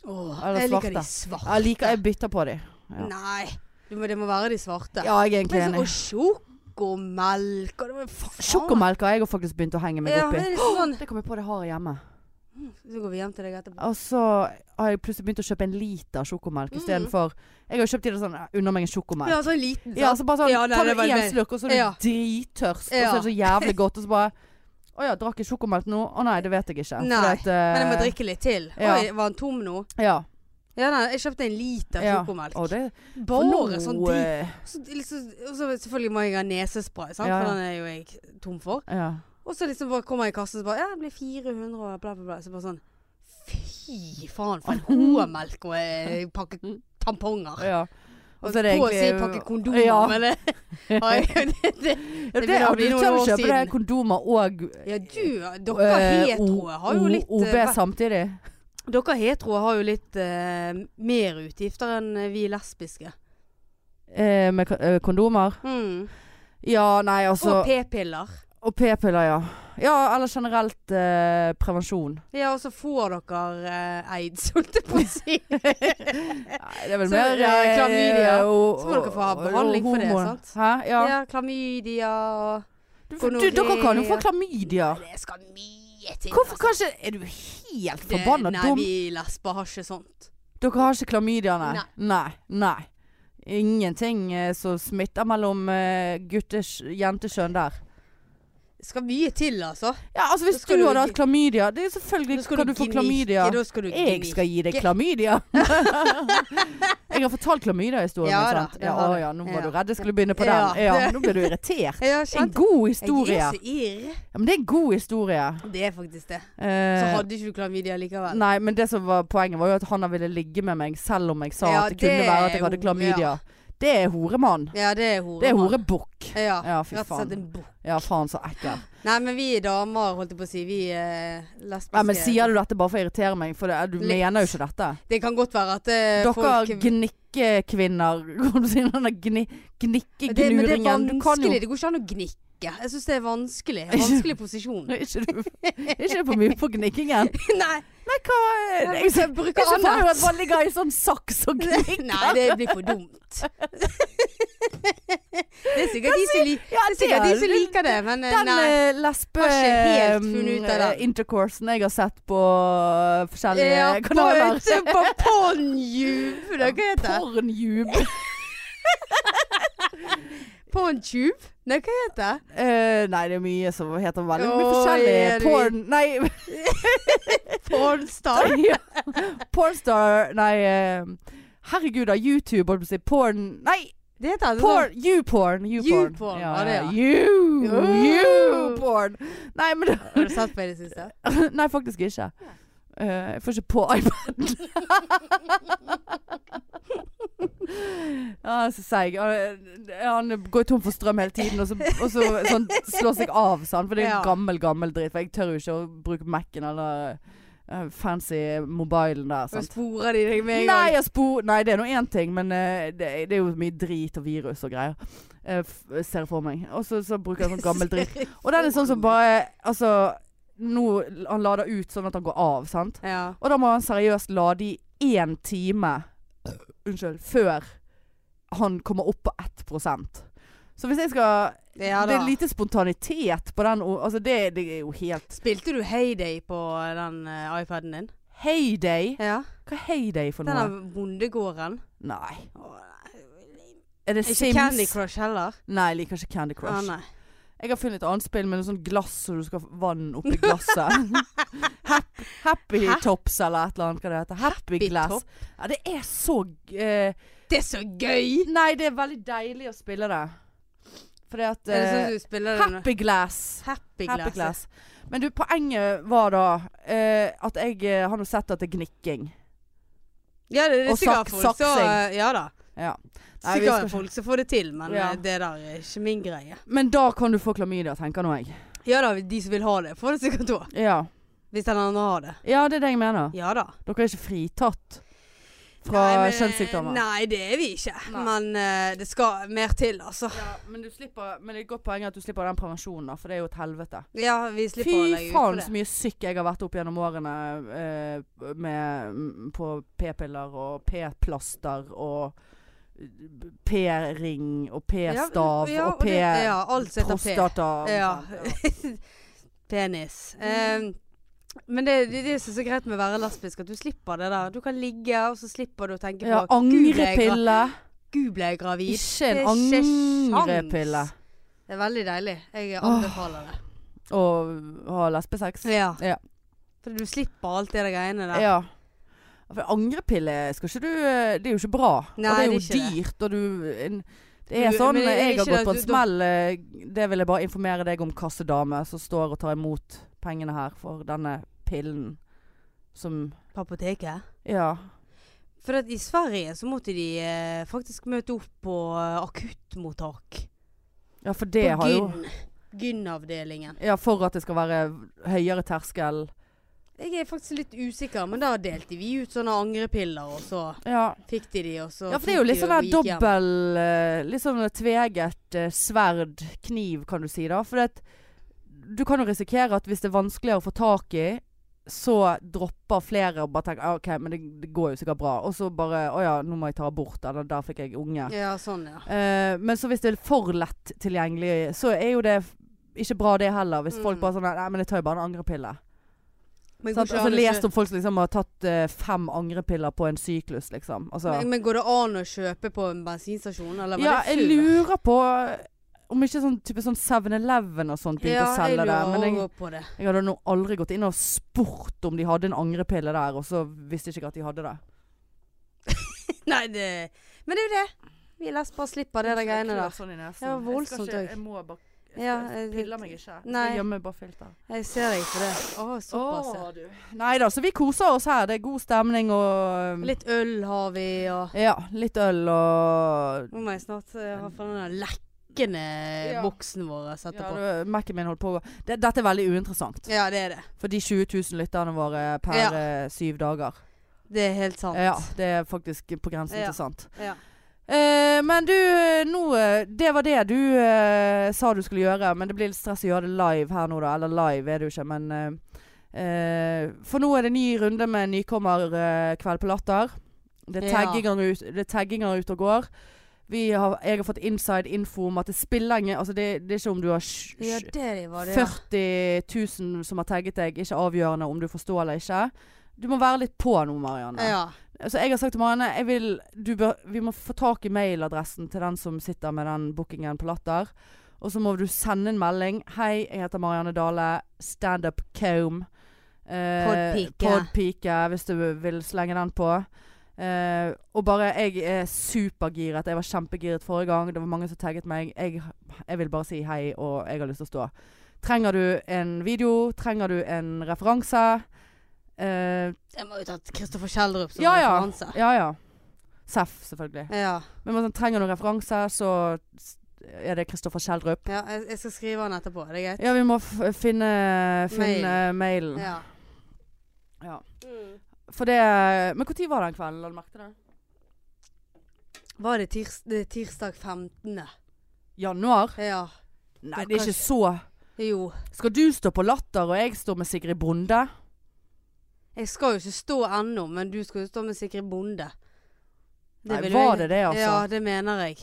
B: Åh,
A: Eller
B: jeg liker
A: svarte.
B: de svarte.
A: Jeg liker Jeg bytter på de. Ja.
B: Nei, det må, det må være de svarte.
A: Ja, jeg er egentlig
B: men så,
A: enig.
B: og sjokomelk og det var faen.
A: Sjokomelk har jeg jo faktisk begynt å henge meg
B: Ja,
A: opp
B: men det
A: i.
B: er liksom sånn.
A: Det kom jeg på det har jeg hjemme.
B: Så går vi hjem til deg etterpå.
A: Og så har jeg plutselig begynt å kjøpe en liter sjokomelk
B: Mm.
A: istedenfor Jeg har jo kjøpt i det sånn eh, Unna meg en sjokomelk.
B: Ja, så en liten.
A: Ja,
B: sant?
A: så bare sånn,
B: Ja, nei,
A: tar
B: det
A: du
B: var
A: én
B: mer-
A: slurk, og så er du
B: Ja.
A: drittørst. Og så
B: Ja.
A: er det så jævlig godt, og så bare Å ja, drakk jeg sjokomelk nå? Å nei, det vet jeg ikke.
B: Nei,
A: fordi at, eh,
B: Men jeg må drikke litt til.
A: Ja.
B: Oi, var han tom nå?
A: Ja.
B: Ja, nei, jeg kjøpte en liter
A: ja.
B: sjokomelk.
A: Å, det, for nå,
B: Bare sånn drit.
A: eh,
B: Så, liksom, og så selvfølgelig må jeg ha nesespray, sant?
A: Ja, ja.
B: for den er jo jeg tom for.
A: Ja.
B: Og så liksom bare kommer jeg i kassen og så bare Ja, det blir 400 og bla, bla, bla. Så bare sånn Fy faen, for en H-melk og en pakke tamponger.
A: ja.
B: Og
A: Og så er det
B: på å si
A: egentlig-
B: pakke kondomer,
A: Ja.
B: men det, Nei, det, det
A: Ja,
B: Det
A: det
B: begynner å
A: har du
B: bli
A: tør
B: noen
A: å
B: år
A: kjøpe det
B: siden.
A: kondomer og
B: Ja, du, dere
A: eh, O-
B: heteroer har jo
A: O-
B: litt
A: OB
B: eh, vært-
A: samtidig.
B: Dere heteroer har jo litt eh, mer utgifter enn vi lesbiske.
A: Eh, med ko- eh, kondomer.
B: Mm.
A: Ja, nei, altså
B: og p-piller.
A: Og p-piller, ja. Ja, eller generelt eh, prevensjon.
B: Ja, og så får dere eh, aids, holdt jeg på å si.
A: Nei, det er vel
B: Eh, Så,
A: mer
B: ja,
A: eh,
B: klamydia.
A: og-
B: Så må dere få ha
A: og- og
B: behandling for det,
A: hormon.
B: sant?
A: Hæ? Ja.
B: ja, klamydia og
A: Du, du, dere kan jo få klamydia.
B: Det skal mye til.
A: Hvorfor
B: altså.
A: kan ikke Er du helt
B: Det-
A: forbanna
B: Nei,
A: dum?
B: vi lesber har ikke sånt.
A: Dere har ikke klamydia, nei? Nei. nei. Ingenting eh, som smitter mellom eh, gutters jentekjønn der.
B: Det skal mye til, altså.
A: Ja, altså Hvis
B: Da
A: du
B: skal du
A: hadde
B: gi-
A: hatt klamydia Det er
B: Da
A: selvfølgelig
B: skal
A: kan du få
B: gnikke,
A: klamydia.
B: Da skal du
A: Jeg
B: gnikke.
A: skal gi deg klamydia. jeg har fortalt klamydia-historien.
B: Ja
A: min,
B: da,
A: sant?
B: det
A: Ja, å
B: har du.
A: ja, nå var
B: Ja.
A: du redd jeg skulle begynne på
B: Ja.
A: den. Ja, nå ble du irritert.
B: Ja,
A: En
B: sant?
A: god
B: Jeg
A: historie.
B: er så irr.
A: Ja, men det er en god historie.
B: Det er faktisk det. Så
A: Eh,
B: hadde ikke du klamydia likevel.
A: nei, men det som var poenget var jo at han ville ligge med meg selv om jeg sa
B: Ja,
A: at det kunne
B: det
A: være at jeg
B: er
A: hadde
B: ho-
A: klamydia. Det er horemann.
B: Ja, det er hore.
A: Det er horebukk.
B: Ja,
A: Ja, fy
B: rett og slett
A: faen.
B: en bok.
A: Ja, faen så ekkel.
B: Nei, men vi damer, holdt jeg på å si, vi eh, lesbiske
A: Ja, men sier du dette bare for å irritere meg? For det, er- du
B: Litt.
A: mener jo ikke dette.
B: Det kan godt være at eh, folk
A: Dere gnikkekvinner Kan du si den der gni,
B: det, men det er
A: gnikkegnuringen? Du kan jo
B: vanskelig. Det går ikke an å gnikke. Jeg syns det er vanskelig. Vanskelig posisjon.
A: Er ikke du er ikke du for mye på gnikkingen?
B: Nei,
A: Nei, hva er
B: jeg,
A: Jeg ser
B: bruker
A: jeg ser for meg
B: annet.
A: at man ligger i sånn saks og gnikker.
B: Nei, det blir for dumt. det er sikkert de som, li
A: Ja,
B: det er sikkert de som
A: det-
B: liker det, men eh,
A: Den
B: nei.
A: eh, lesbe
B: Har ikke helt funnet ut av
A: eh,
B: den.
A: intercoursen jeg har sett på eh, forskjellige
B: Ja, på, eh,
A: kanaler.
B: på Pornhub, det er hva heter det?
A: Pornjube.
B: Porntube? Nei, hva heter det?
A: Eh, nei, det er mye som heter veldig mye
B: Oi,
A: forskjellig.
B: er det
A: Porn... Nei,
B: Pornstar?
A: ja. pornstar Nei, eh, herregud da. YouTube, holdt på å si. Porn Nei!
B: Det heter det sånn.
A: Porn, YouPorn. YouPorn.
B: YouPorn, var det, ja.
A: You,
B: Oh.
A: YouPorn. Nei, men det,
B: Har du sett på i det siste?
A: Nei, faktisk ikke. Eh, jeg får ikke på iPaden. ja, Ah, så seig. Han- Han går tom for strøm hele tiden, og så, og så sånn, slår seg av, sånn, for det er jo
B: Ja.
A: gammel, gammel dritt. For jeg tør jo ikke å bruke Mac-en eller eh, fancy mobilen der.
B: Så
A: Sant?
B: sporer de deg med en
A: Nei,
B: gang.
A: jeg spor, nei, det er nå én ting, men eh, det, det er jo mye drit og virus og greier. Eh, f ser jeg for meg. Og så, så bruker jeg sånn gammel dritt. Og den er sånn som bare Altså nå, Han lader ut sånn at han går av, sant?
B: Ja.
A: Og da må han seriøst lade i én time Unnskyld, før han kommer opp på 1 Så hvis jeg skal
B: ja
A: Det
B: da.
A: er lite spontanitet på den o- Altså det, det er jo helt
B: Spilte du Heyday på den eh, iPaden din?
A: Heyday?
B: Ja.
A: Hva er heyday for
B: Den
A: noe?
B: av bondegården.
A: Nei.
B: Åh, nei.
A: Er det
B: Ikke Candy
A: Sims?
B: Crush heller.
A: Nei, jeg liker ikke Candy
B: Ah,
A: Crush.
B: nei.
A: jeg har funnet et annet spill med noe sånn glass så du skal få vann oppi glasset. Happy, happy
B: Hæ?
A: Tops eller et eller annet hva det heter. Happy,
B: Happy
A: Glass.
B: Top?
A: Ja, det er så g- eh,
B: Det er så gøy!
A: Nei, det er veldig deilig å spille det. Fordi at
B: Er det
A: eh,
B: sånn du spiller det nå?
A: Happy Glass.
B: Happy
A: Happy
B: glass.
A: Glass. Men du, poenget var da eh, at jeg eh, har nå sett at det er gnikking.
B: Ja, det, det er
A: Og sak-
B: sikkert folk så,
A: saksing.
B: Ja da.
A: Ja. Nei, vi skal
B: Sikkert
A: ikke-
B: folk som får det til, men
A: Ja.
B: eh, det der er ikke min greie.
A: Men da kan du få klamydia, tenker nå jeg.
B: Ja da, de som vil ha det, får det sikkert òg.
A: Ja.
B: Hvis den andre har det.
A: ja, det er det jeg mener.
B: Ja da.
A: Dere er ikke fritatt fra
B: Nei, men-
A: kjønnssykdommer.
B: Nei, det er vi ikke.
A: Nei.
B: Men eh, det skal mer til, altså.
A: Ja, men, du slipper, men det er et godt poeng at du slipper den prevensjonen, da, for det er jo et helvete.
B: Ja, vi
A: Fy
B: slipper å legge ut for
A: faen så
B: det.
A: mye syk jeg har vært opp gjennom årene eh, med, m- på p-piller og p-plaster og p-ring og p-stav
B: ja,
A: og
B: og det- ja, alt som heter P.
A: p-prostata. og
B: Ja.
A: sånt,
B: Penis. Eh, men det, det, det som er så greit med å være lesbisk, at du slipper det der. Du kan ligge, og så slipper du å tenke på
A: Ja,
B: Gud, jeg er gra-
A: angrepille.
B: Gud ble jeg gravid.
A: Ikke en
B: Det er ikke sjans.
A: angrepille.
B: Det er veldig deilig. Jeg
A: Åh.
B: anbefaler det.
A: Å ha lesbesex.
B: Ja.
A: Ja.
B: For du slipper alt det der greiene der.
A: Ja. For angrepille skal ikke du eh, Det er jo ikke bra. og det
B: Nei,
A: er jo
B: det er ikke det.
A: dyrt, og du en, Det er
B: Du-
A: sånn
B: men det er
A: Jeg har
B: ikke det,
A: gått på en
B: du- da-
A: smell. eh, Det vil jeg bare informere deg om, kassedame, som står og tar imot pengene her for denne pillen som
B: På apoteket.
A: Ja.
B: For at i Sverige så måtte de eh, faktisk møte opp på eh, akuttmottak.
A: Ja, for det
B: på
A: har jo
B: gyn. Gyn-avdelingen.
A: Ja, for at det skal være høyere terskel.
B: Jeg er faktisk litt usikker, men da delte vi ut sånne angrepiller, og så
A: Ja.
B: fikk de de, og så
A: Ja, for det er jo
B: tok
A: litt
B: de
A: sånn
B: og
A: der
B: gikk hjem.
A: dobbel eh, Litt sånn tveget eh, sverd, kniv, kan du si da. For det, at du kan jo risikere at hvis det er vanskeligere å få tak i, så dropper flere og bare tenker «Ah, OK, men det, det går jo sikkert bra. Og så bare Å ja, nå må jeg ta abort, eller der fikk jeg unge.
B: Ja, sånn, ja.
A: Eh, men så hvis det er for lett tilgjengelig, så er jo det f- ikke bra det heller. Hvis folk
B: Mm.
A: bare sånn Nei, men jeg tar jo bare en angrepille.
B: Men
A: Sant?
B: ikke
A: Altså,
B: an å
A: lest
B: kjø-
A: om folk som liksom har tatt eh, fem angrepiller på en syklus, liksom. Altså
B: men, men går det an å kjøpe på en bensinstasjon, eller var
A: Ja,
B: det
A: jeg
B: før?
A: lurer på om ikke sånn type sånn 7-Eleven og sånt begynte
B: ja,
A: å selge det. Men
B: jeg
A: jeg,
B: lurer også på det.
A: jeg hadde nå aldri gått inn og spurt om de hadde en angrepille der, og så visste jeg ikke at de hadde det.
B: Nei, det Men det er jo det. Vi lesber slipper det der greiene der.
A: Sånn i nesen.
B: Det var
A: Jeg,
B: voldsomt,
A: skal
B: jeg.
A: ikke, jeg må bare jeg,
B: Ja,
A: jeg
B: jeg-
A: piller meg ikke.
B: nei.
A: Jeg gjemmer bare filter.
B: Jeg ser deg for det. Å, såpass, ja.
A: Å, du. Nei da, så vi koser oss her. Det er god stemning og um,
B: Litt øl har vi, og
A: Ja, litt øl og
B: Nå må jeg snart eh, ha fra den der lekkende
A: Ja.
B: boksen vår
A: ja,
B: etterpå.
A: det- Mac-en min holdt på å gå. Det- Dette er veldig uinteressant
B: Ja, det er det.
A: for de 20 000 lytterne våre per
B: Ja.
A: eh, syv dager.
B: Det er helt sant.
A: Ja, det er faktisk på grensen
B: Ja.
A: til sant.
B: Ja.
A: Eh, men du, eh, nå eh, Det var det du eh, sa du skulle gjøre, men det blir litt stress å gjøre det live her nå, da. Eller live er det jo ikke, men eh, eh, For nå er det ny runde med nykommerkveld på Latter. Det er
B: Ja.
A: tagginger ut, det er tagginger ut og går. Vi har, jeg har fått inside info om at det spiller ingen Altså, det, det er ikke om du har sj-
B: Ja, det var det. ja.
A: 40 000 som har tagget deg, ikke avgjørende om du forstår eller ikke. Du må være litt på nå, Marianne.
B: Ja.
A: Altså, jeg har sagt til Marianne jeg vil, du bør, Vi må få tak i mailadressen til den som sitter med den bookingen på Latter. Og så må du sende en melding. 'Hei, jeg heter Marianne Dale. Standup Kaum.
B: Podpike.
A: Podpike, hvis du vil slenge den på. Eh, og bare Jeg er supergiret. Jeg var kjempegiret forrige gang. Det var mange som tagget meg. Jeg, jeg vil bare si hei, og jeg har lyst til å stå. Trenger du en video? Trenger du en referanse? Eh,
B: Jeg må jo tatt Kristoffer Kjeldrup som
A: Ja, ja.
B: referanse.
A: ja ja. Seff, selvfølgelig.
B: Ja.
A: Men man sånn, trenger noen referanse, så s- er det Kristoffer Kjeldrup.
B: ja jeg, jeg skal skrive han etterpå. Er det greit?
A: Ja, vi må f finne, finne mailen.
B: Ja.
A: Mm. Ja.
B: Mm.
A: For det Men når var den kvelden? La du merke til det?
B: Var det tirs det er tirsdag 15.?
A: Januar?
B: Ja.
A: Nei,
B: Det
A: det er ikke så
B: Jo.
A: Skal du stå på Latter, og jeg står med Sigrid Bonde?
B: Jeg skal jo ikke stå ennå, men du skal jo stå med Sigrid Bonde.
A: Nei,
B: vil jo
A: var det
B: jeg-
A: det, altså?
B: Ja, det mener jeg.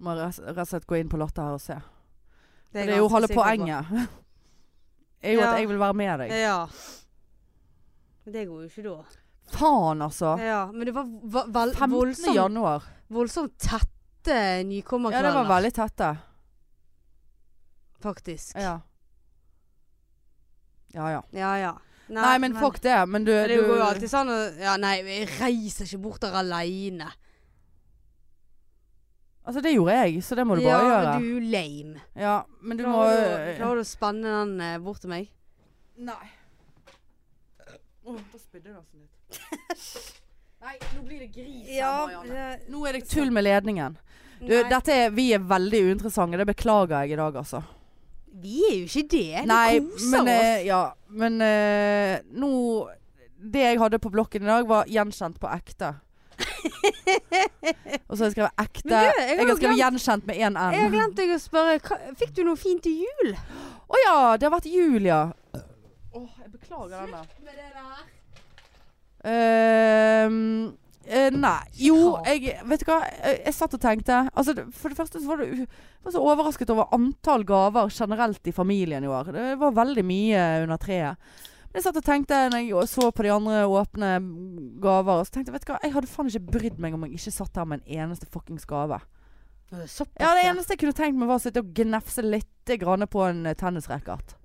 A: Må rett rett og slett gå inn på Latter her og se.
B: er
A: Det er
B: jeg
A: jo
B: ganske
A: halve
B: sikker på.
A: poenget. er jo
B: Ja. Eh,
A: at jeg vil være med deg.
B: Ja. Men det går jo ikke da.
A: Faen, altså.
B: Ja, men det var va- vel-
A: 15.
B: eh, voldsomt,
A: januar.
B: voldsomt tette
A: Ja, det var
B: nykommerkvelder,
A: veldig tette.
B: faktisk.
A: Ja. Ja ja.
B: Ja, ja.
A: Nei, men fuck det. Men du,
B: Men Det går jo
A: du
B: alltid sånn å- Ja, nei, jeg reiser ikke bort der aleine.
A: Altså, det gjorde jeg, så det må du bare
B: ja,
A: gjøre.
B: men du er jo lame.
A: Ja, men du må eh,
B: Klarer du, klarer du å spanne den eh, bort til meg?
A: Nei. da spydde jeg nesten litt. Nei, nå blir det gris Nå er det tull med ledningen. Du,
B: Nei,
A: dette er, vi er veldig uinteressante. Det beklager jeg i dag, altså.
B: Vi er jo ikke det. Vi
A: Nei,
B: koser
A: men, eh,
B: oss.
A: ja, men eh, nå Det jeg hadde på blokken i dag, var gjenkjent på ekte. Og så har jeg skrevet ekte.
B: Men du, jeg har
A: jeg,
B: jo
A: har skrevet
B: glemt-
A: gjenkjent med én
B: Jeg har
A: N.
B: glemt deg å spørre. hva- Fikk du noe fint til jul?
A: Å ja, det har vært jul, ja. Åh, jeg beklager den der.
B: Med det der.
A: Ehm, eh, nei. Jo,
B: Skap.
A: jeg Vet du hva? Jeg, jeg satt og tenkte altså, det- For det første så var du var så overrasket over antall gaver generelt i familien i år. Det var veldig mye under treet. Men jeg satt og tenkte når jeg så på de andre åpne gaver, og så tenkte jeg vet du hva, jeg hadde faen ikke brydd meg om jeg ikke satt her med en eneste fuckings gave.
B: Såpass,
A: Ja, det eneste jeg kunne tenkt meg, var å sitte og gnefse litt grann på en eh, tennisracket.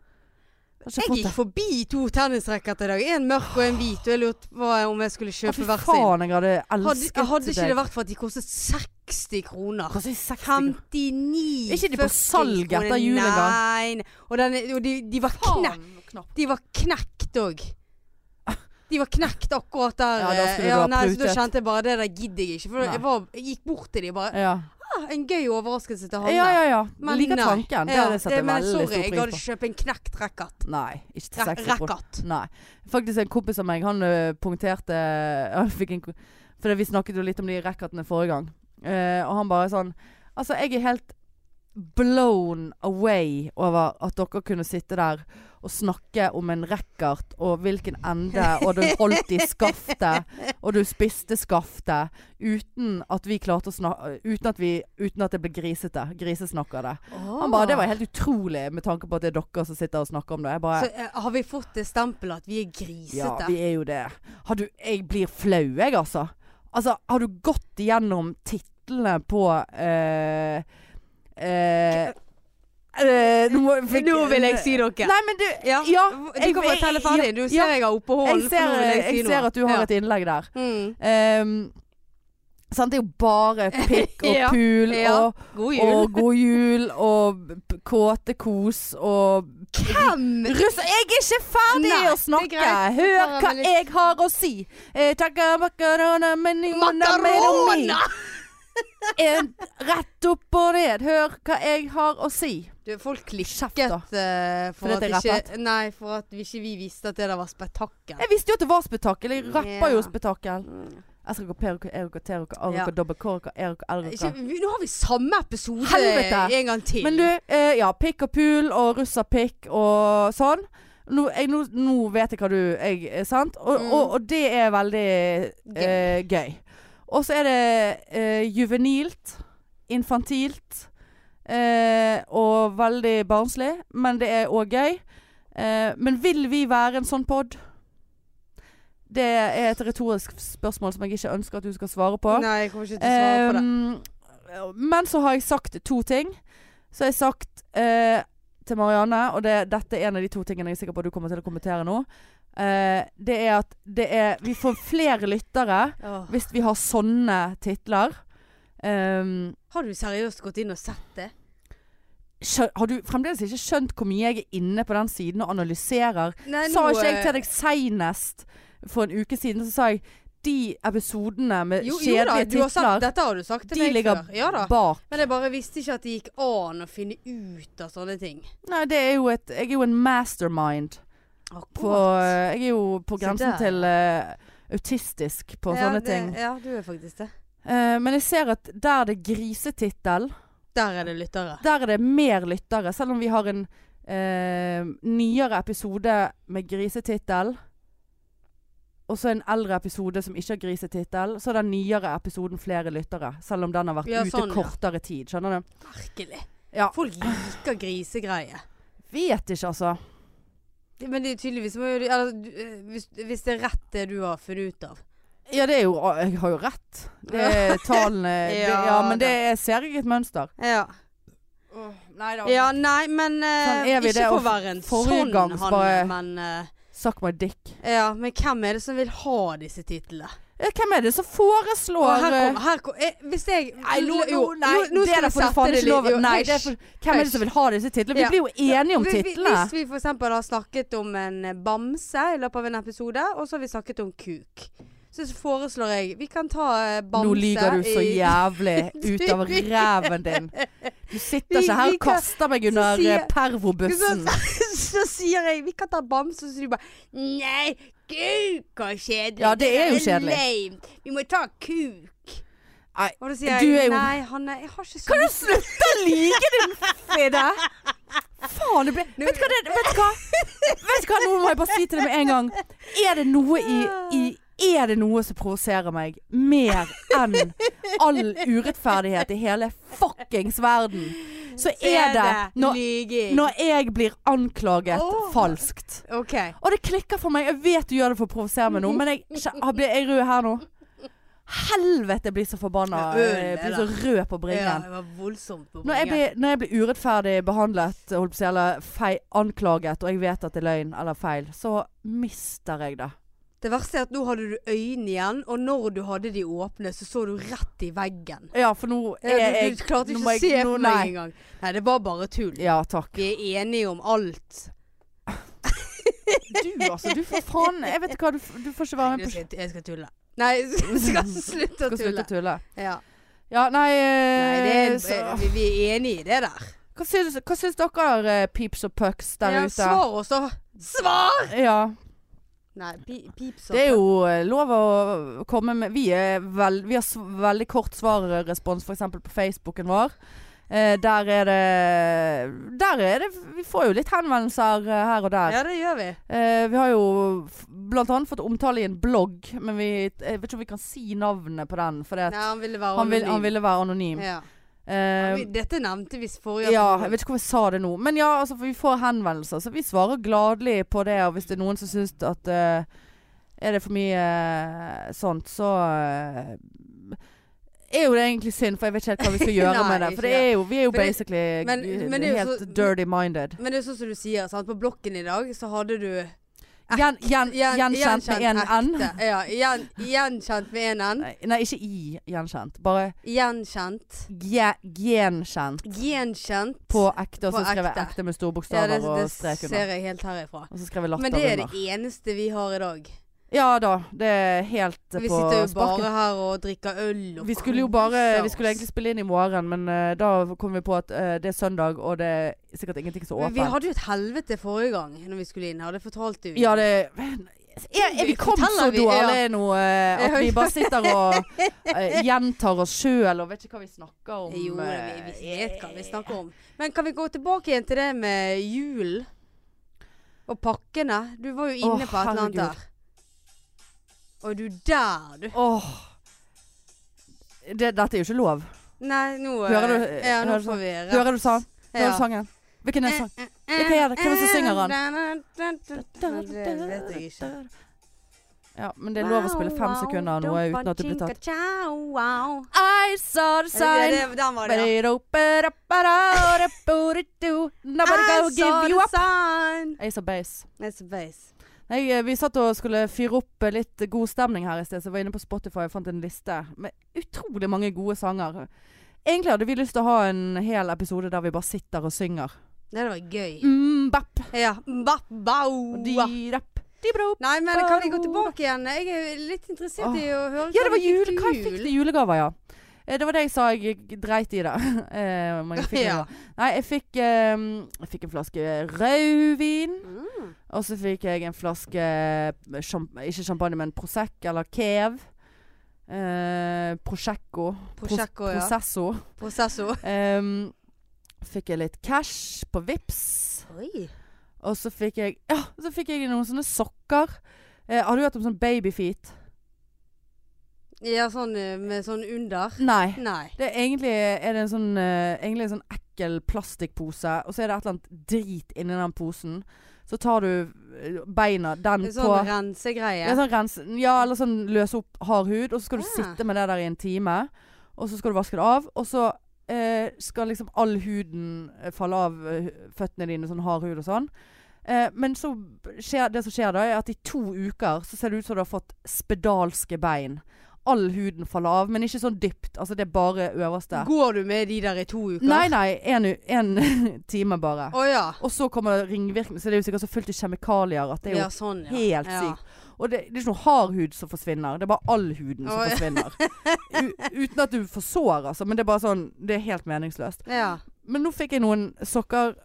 A: Jeg har ikke
B: Jeg
A: fått
B: gikk
A: det.
B: forbi to tennisracket i dag. En mørk og en hvit. Og jeg lurte på om jeg skulle
A: Å,
B: kjøpe
A: Fy
B: hver sin.
A: faen, jeg hadde
B: Hadde,
A: elsket
B: hadde ikke
A: deg.
B: det vært for at de kostet 60 kroner.
A: Hva sier 60 kroner?
B: 59
A: Er ikke de på
B: 40
A: salg etter
B: kroner.
A: jul engang?
B: Nei. nei. Og, den, og de, de var knekt.
A: Faen, knapp.
B: De var knekt òg. De var knekt akkurat der.
A: Ja, da
B: eh,
A: skulle du ha
B: nei, så da
A: prutet.
B: kjente jeg bare det der gidder jeg ikke. For
A: Nei.
B: jeg, var, jeg gikk bort til de bare
A: Ja,
B: ah, En gøy overraskelse til
A: ja,
B: Hanne.
A: ja. ja.
B: Men
A: Liker
B: nei.
A: tanken. Det
B: Ja,
A: hadde jeg satt
B: det-
A: en
B: men
A: veldig
B: sorry, jeg
A: stor
B: hadde
A: pris på.
B: kjøpt en knekt racket.
A: Nei, ikke til
B: Ra-
A: 60 kroner.
B: Racket.
A: Nei. Faktisk en kompis av meg, han ø, punkterte eh, han fikk en, ko- For vi snakket jo litt om de racketene forrige gang. Eh, og han bare sånn Altså, jeg er helt blown away over at dere kunne sitte der og snakke om en racket og hvilken ende, og du holdt i skaftet, og du spiste skaftet, uten at vi klarte å snakke Uten at, vi, uten at det ble grisete. Grisesnakkere. Han bare, Det var helt utrolig med tanke på at det er dere som sitter og snakker om det. Jeg bare,
B: Så eh, har vi fått det stempelet at vi er grisete?
A: ja, vi er jo det. Har du, jeg blir flau, jeg, altså. Altså, har du gått igjennom titlene på eh, eh, eh, nå, må- fikk-
B: Nå vil jeg si noe.
A: Nei, men du
B: ja. du
A: jeg-
B: kan fortelle ferdig. Du ser
A: ja,
B: jeg har oppå hånden.
A: Jeg ser,
B: for nå vil jeg, si
A: jeg
B: noe.
A: ser at du har
B: Ja.
A: et innlegg der.
B: Mm.
A: Ehm, sant, det er jo bare pikk og
B: Ja,
A: pul
B: ja.
A: og,
B: God jul.
A: og god jul og p- kåte kos og
B: Hvem?
A: Russ, jeg er ikke ferdig
B: Nei,
A: å snakke!
B: det er greit.
A: Hør
B: Bare
A: hva
B: veldig-
A: jeg har å si! Eh, takka makarona, men inna meromi.
B: Makarona!
A: En- Rett opp og ned. Hør hva jeg har å si.
B: Du, folk
A: Kjeft,
B: klikket
A: da.
B: eh, for,
A: Fordi
B: at
A: at jeg
B: ikke, nei, for at vi ikke vi visste at det der var spetakkel.
A: Jeg visste jo at det var spetakkel. Jeg rapper
B: Ja. Mm.
A: jo spetakkel. Esker, peruka, eruka, teruka,
B: Ja.
A: aruka, dobbe, koruka, eruka,
B: Ikke,
A: eruka.
B: vi- nå har vi samme episode
A: Helvete!
B: en gang til.
A: Men du, eh, ja. Pikk og pul og russerpikk og sånn. Nå, jeg, nå, nå vet jeg hva du jeg, eh, Sant? Og,
B: Mm.
A: og, og det er veldig eh, gøy. Og så er det eh, juvenilt, infantilt eh, og veldig barnslig. Men det er òg gøy. Eh, men vil vi være en sånn pod? Det er et retorisk spørsmål som jeg ikke ønsker at du skal svare på.
B: Nei, jeg kommer ikke til å svare på det.
A: Ehm, Men så har jeg sagt to ting. Så har jeg sagt eh, til Marianne, og det, dette er en av de to tingene jeg er sikker på at du kommer til å kommentere nå. Eh, det er at det er Vi får flere lyttere
B: Åh.
A: hvis vi har sånne titler. Ehm,
B: Har du seriøst gått inn og sett det?
A: skjø- har du fremdeles ikke skjønt hvor mye jeg er inne på den siden og analyserer?
B: Nei, eh,
A: sa ikke jeg til deg seinest for en uke siden, så sa jeg de episodene med
B: jo, jo da,
A: Eh, kjedelige
B: du har sagt,
A: titler,
B: dette har du sagt til
A: de
B: meg
A: ligger
B: før. Ja da.
A: bak.
B: Men jeg bare visste ikke at det gikk an å finne ut av sånne ting.
A: Nei, det er jo et Jeg er jo en mastermind på eh,
B: Akkurat.
A: Jeg er jo på
B: Se
A: grensen
B: der.
A: til eh, autistisk på
B: ja,
A: sånne
B: det-
A: ting.
B: Ja, du er faktisk det.
A: Eh, men jeg ser at der det er grisetittel,
B: Der er det lyttere.
A: der er det mer lyttere. Selv om vi har en eh, nyere episode med grisetittel, og så en eldre episode som ikke har grisetittel, så har den nyere episoden flere lyttere. Selv om den har vært
B: Ja,
A: ute
B: sånn, ja.
A: kortere tid. Skjønner du?
B: Merkelig.
A: Ja.
B: Folk liker grisegreier.
A: Vet ikke, altså.
B: Det- Men det er tydeligvis må jo du- eller, du- eh, hvis, hvis det er rett det du har funnet ut av.
A: Ja, det er jo Jeg har jo rett. Det er tallene det-
B: Ja,
A: Ja, men
B: da.
A: det er, ser jeg et mønster.
B: Ja,
A: nei da.
B: nei, men eh,
A: Sånn er vi, det
B: Ikke
A: er
B: for å
A: jo
B: være en
A: forrige
B: sånn
A: gangs
B: han,
A: bare-
B: men eh,
A: Suck my dick.
B: Ja, men hvem er det som vil ha disse titlene?
A: Ja, Hvem er det som
B: Og
A: foreslår
B: her
A: eh,
B: kom, her kom eh, Hvis jeg
A: Nei, nå,
B: jo,
A: nå, nei,
B: nå
A: det er da
B: skal vi
A: for
B: sette
A: faen
B: det
A: ikke lov.
B: litt- jo,
A: Nei, det er
B: hysj.
A: for, hvem er det
B: hysj.
A: som vil ha disse titlene? Vi
B: Ja.
A: blir jo enige om
B: Vi- vi-
A: titlene.
B: Hvis vi for eksempel har snakket om en eh, bamse i løpet av en episode, og så har vi snakket om kuk. Så så foreslår jeg Vi kan ta eh, bamse
A: Nå lyver du så
B: i-
A: jævlig ut av ræven din. Du sitter
B: Vi-
A: ikke her
B: vi
A: og
B: kan-
A: kaster meg
B: så
A: under
B: sier-
A: eh, pervobussen.
B: Så, så sier jeg vi kan ta bamse, og så du bare Nei, kuk er kjedelig.
A: Ja, det er jo kjedelig.
B: lame. Vi må ta kuk.
A: Nei,
B: Og da sier
A: du er
B: jeg
A: jo-
B: nei, Hanne, jeg har ikke så lyst
A: Slutt å lyve, din fidde! Faen, det ble Vet du hva? Det, vet du hva? Vet du hva? Nå må jeg bare si til deg med en gang. Er det noe i, i Er det noe som provoserer meg mer enn all urettferdighet i hele fuckings verden, så er det når,
B: Lyging.
A: når jeg blir anklaget
B: Åh.
A: falskt.
B: OK.
A: Og det klikker for meg. Jeg vet du gjør det for å provosere meg nå, men jeg, kje- har- blir jeg rød her nå? Helvete, jeg blir så forbanna.
B: Ja, øl,
A: Jeg blir
B: det
A: så rød på
B: Ja,
A: bringen.
B: det var voldsomt på
A: Når jeg,
B: bringen.
A: blir, når jeg blir urettferdig behandlet, holdt på å si, eller fei- anklaget, og jeg vet at det er løgn eller feil, så mister jeg det.
B: Det verste er at nå hadde du øynene igjen, og når du hadde de åpne, så så du rett i veggen.
A: Ja, for nå
B: Ja,
A: er
B: du,
A: jeg
B: du klarte
A: nå
B: ikke
A: må
B: å
A: jeg- nå-
B: se på
A: nei.
B: meg engang. Nei, det var bare tull.
A: Ja, takk.
B: Vi er enige om alt.
A: Du, altså. Du, for faen. Jeg vet ikke hva. Du, f- du får ikke være
B: Nei,
A: med
B: Jeg
A: på
B: skal, jeg skal tulle. Nei, jeg skal slutte
A: Skal
B: å
A: slutte
B: tulle.
A: å tulle.
B: Ja.
A: Ja, nei,
B: Nei, det
A: eh,
B: er,
A: så,
B: vi, vi er enige i det der.
A: hva, syns, hva syns dere, eh, peeps og pucks der
B: Ja,
A: ute?
B: svar også. Svar!
A: Ja.
B: Nei, pi, pips
A: Det er jo eh, lov å komme med Vi, er vel, vi har s veldig kort svarrespons f.eks. på Facebooken vår. Eh, der er det Der er det Vi får jo litt henvendelser eh, her og der.
B: Ja, det gjør vi.
A: Eh, vi har jo f- blant annet fått omtale i en blogg, men vi, jeg vet ikke om vi kan si navnet på den. For det,
B: Nei, han ville være
A: han, vil, han
B: anonym.
A: ville være anonym.
B: Ja.
A: Eh,
B: Vi- Dette nevnte vi forrige
A: ja,
B: episode.
A: jeg vet ikke hvorfor jeg sa det nå. Men ja, altså, for vi får henvendelser, så vi svarer gladelig på det. Og hvis det er noen som syns at eh, er det for mye eh, sånt, så eh, er jo det egentlig synd, for jeg vet ikke helt hva vi skal gjøre
B: Nei,
A: med det.
B: ikke
A: For det er jo, vi er jo
B: For det-
A: basically
B: men-
A: g-
B: men det er jo
A: helt
B: så-
A: dirty minded.
B: Men det er sånn som du sier, sant? på blokken i dag så hadde du
A: Gjen, gjen,
B: gjen-
A: gjenkjent med en N.
B: ekte. Ja, gjen, gjenkjent med en N.
A: Nei, nei, ikke i gjenkjent. Bare
B: Gjenkjent.
A: ge, genkjent
B: Gjenkjent.
A: på ekte, og så
B: På
A: skrev jeg
B: ekte.
A: ekte med store
B: ja,
A: bokstaver
B: det,
A: og
B: det
A: strek under.
B: ser jeg helt herifra.
A: Og så skrev jeg latter
B: Men det er
A: under.
B: det eneste vi har i dag.
A: Ja da, det er helt eh,
B: Vi
A: på
B: sitter jo
A: sparket.
B: bare her og drikker øl og
A: Vi skulle jo
B: koser
A: bare Vi
B: oss.
A: skulle egentlig spille inn i morgen, men eh, da kom vi på at eh, det er søndag, og det er sikkert ingenting som er
B: Men Vi
A: åpent.
B: hadde jo et helvete forrige gang når vi skulle inn her, det fortalte vi.
A: Ja, det er, er vi kommet så
B: Forteller vi-
A: dårlig nå eh, at
B: Ja.
A: vi bare sitter og eh, gjentar oss sjøl og vet ikke hva vi snakker om?
B: Jo, vi,
A: eh,
B: vi vet hva vi snakker om. Men kan vi gå tilbake igjen til det med julen? Og pakkene? Du var jo
A: Åh,
B: inne på et eller annet
A: herregud.
B: der. Og du der, du.
A: Åh. Det, dette er jo ikke lov.
B: Nei, nå eh,
A: Hører du-
B: Ja, nå
A: hører du sånn-
B: får vi rett.
A: Hører du sånn sangen? Hører
B: Ja. Eh,
A: du sangen? Hvilken er sangen? Hva er det? Hvem er det som synger
B: den? Det vet jeg ikke.
A: Ja, men det er lov å spille fem sekunder av noe uten at det blir tatt.
B: Wow.
A: I saw the
B: Ja,
A: sign.
B: det, den var
A: But
B: det, ja.
A: it opened up and out up out it do. Nobody gonna give you up.
B: sign.
A: Ace of Base.
B: It's a base.
A: Nei, eh, vi satt og skulle fyre opp eh, litt god stemning her i sted, så jeg var inne på Spotify og fant en liste med utrolig mange gode sanger. Egentlig hadde vi lyst til å ha en hel episode der vi bare sitter og synger.
B: Det hadde vært gøy.
A: Mm, bap,
B: Ja. Bap, bau.
A: di, rap, di, brop.
B: Nei, men kan vi gå tilbake igjen? Jeg er litt interessert i å høre sånn
A: Ja, det var
B: vi fikk
A: jul.
B: til
A: Hva jeg fikk til julegaver, ja. Eh, Det var det jeg sa, jeg dreit i det. Eh, om jeg fikk noe.
B: Ja.
A: Nei, jeg fikk, eh, jeg fikk en flaske rødvin.
B: Mm.
A: Og så fikk jeg en flaske eh, sjamp Ikke champagne, men Prosecco eller Kev. Eh, Prosecco.
B: Prosecco,
A: Pros-
B: ja.
A: Processo.
B: Processo.
A: Em, fikk jeg litt cash på Vips
B: Oi.
A: Og så fikk jeg Ja, så fikk jeg noen sånne sokker. Eh, har du hørt om sånn babyfeet?
B: Ja, sånn eh, med sånn under.
A: Nei.
B: Nei.
A: Det er egentlig er det en sånn, eh, egentlig en sånn ekkel plastikkpose, og så er det et eller annet drit inni den posen. Så tar du eh, beina den
B: En
A: på
B: sånn rensegreie.
A: Ja, sånn rense, ja eller sånn løse opp hard hud, og så skal du
B: Ah.
A: sitte med det der i en time. Og så skal du vaske det av, og så eh, skal liksom all huden eh, falle av eh, føttene dine, sånn hard hud og sånn. Eh, men så skjer, det som skjer da, er at i to uker så ser det ut som du har fått spedalske bein. All huden faller av, men ikke sånn dypt. Altså det er bare øverste.
B: Går du med de der i to uker?
A: Nei, nei. Én time bare.
B: Å ja.
A: Og så kommer ringvirkninger. Så det er jo sikkert så fullt i kjemikalier at det er jo
B: ja, sånn, ja.
A: helt
B: ja.
A: sykt. Og det, det er ikke noe hard hud som forsvinner, det er bare all huden som
B: Å, ja.
A: forsvinner. U uten at du får sår, altså. Men det er bare sånn Det er helt meningsløst.
B: Ja.
A: Men nå fikk jeg noen sokker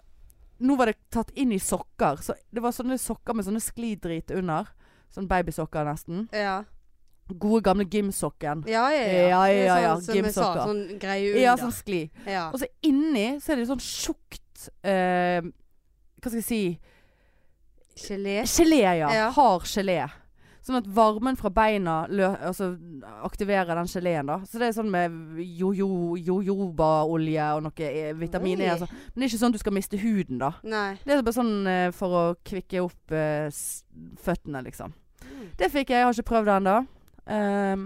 A: Nå var det tatt inn i sokker. Så det var sånne sokker med sånne sklidrit under. Sånn babysokker, nesten.
B: Ja.
A: Gode, gamle gymsokken.
B: Ja, ja,
A: Ja,
B: Det er
A: ja, ja,
B: Sånn, som jeg sa,
A: gymsokker.
B: sånn greie under.
A: Ja, sånn skli.
B: ja.
A: Og så inni så er det sånn tjukt eh, Hva skal jeg si
B: Gelé.
A: Gelé, ja.
B: Ja.
A: Hard gelé. Sånn at varmen fra beina lø altså, aktiverer den geleen, da. Så det er sånn med jojo- jojobaolje og noe eh, vitamin E.
B: Oi.
A: og sånn. Men det er ikke sånn at du skal miste huden, da.
B: Nei.
A: Det er bare sånn eh, for å kvikke opp eh, s- føttene, liksom.
B: Mm.
A: Det fikk jeg. Jeg har ikke prøvd det ennå. Ehm,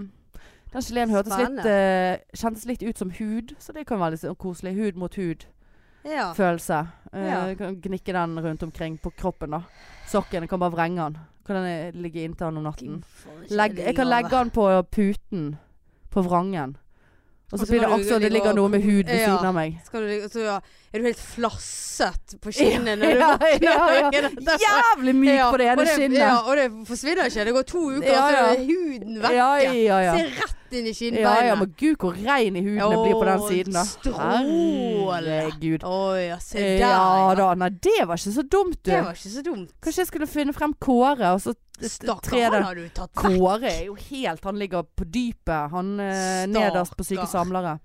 A: den geleen hørtes litt,
B: Spennende.
A: eh, kjentes litt ut som hud, så det kan være litt sånn koselig. Hud mot hud-følelse.
B: Ja. Ja.
A: Eh, Kan Gnikke den rundt omkring på kroppen, da. Sokken. Jeg kan bare vrenge den. Kan den eh, ligge inntil den om natten. Legg, jeg kan legge den på eh, puten på vrangen. Og
B: Og
A: så
B: så
A: blir det
B: kan du
A: akkurat som det
B: ligge
A: ligger
B: og-
A: noe med hud ved
B: Ja.
A: siden av meg.
B: Skal du, ligge- så, ja. Er du helt flasset på skinnet når du
A: Ja,
B: våkner?
A: ja, ja. Jævlig myk
B: Ja,
A: på det
B: og
A: ene skinnet.
B: Ja, og det forsvinner ikke. Det går to uker,
A: Ja,
B: så
A: ja.
B: er huden vekk.
A: Ja, ja, ja.
B: Se rett inn i
A: Ja,
B: skinnbeinet.
A: ja, men gud hvor rein i huden jeg blir på den
B: Åh,
A: siden, da.
B: stråle.
A: Herregud.
B: Å ja, se der.
A: Ja da, nei det var ikke så dumt, du.
B: Det var ikke så dumt.
A: Kanskje jeg skulle finne frem Kåre, og så
B: Stakkar,
A: tre
B: han
A: den.
B: har du tatt vekk.
A: Kåre er jo helt Han ligger på dypet, han eh,
B: Stakkar.
A: nederst på Syke samlere.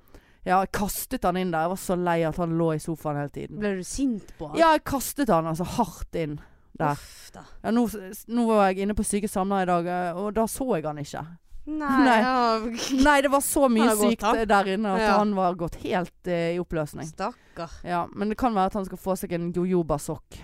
A: Ja, jeg kastet han inn der. Jeg var så lei at han lå i sofaen hele tiden.
B: Ble du sint på han?
A: Ja, jeg kastet han altså hardt inn der.
B: Uff da.
A: Ja, nå, nå var jeg inne på Syke samlere i dag, eh, og da så jeg han ikke.
B: Nei,
A: Nei.
B: Ja.
A: Nei, det var så
B: Han
A: mye
B: har gått,
A: sykt eh,
B: han.
A: der inne at
B: Ja.
A: han var gått helt eh, i oppløsning.
B: Stakkar.
A: Ja, men det kan være at han skal få seg en jojoba-sokk.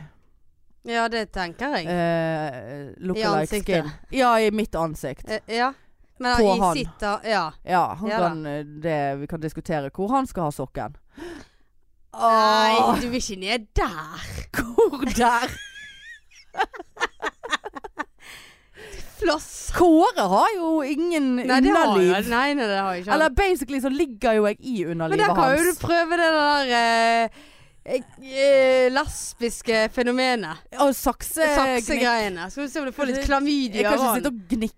B: Ja, det tenker jeg.
A: Eh,
B: I
A: Look-alike
B: ansiktet.
A: skin. Ja, i mitt ansikt.
B: Eh, ja. Men
A: På
B: i
A: han.
B: sitt da Ja.
A: Ja, han
B: Ja da.
A: kan, eh, det, vi kan diskutere hvor han skal ha sokken.
B: Nei,
A: Åh,
B: du vil ikke ned der.
A: Hvor der?
B: Flass.
A: Kåre har jo ingen
B: Nei, det har
A: underliv.
B: jeg. Nei, nei, det har jeg ikke.
A: Eller basically så ligger jo jeg i
B: Men
A: underlivet
B: der kan jo du
A: hans.
B: prøve det der eh, eh, lesbiske fenomenet.
A: Og sakse...
B: Saksegreiene. Skal du se om du får litt
A: Jeg
B: klamydia
A: kan
B: av
A: ikke
B: han.
A: sitte og gnikke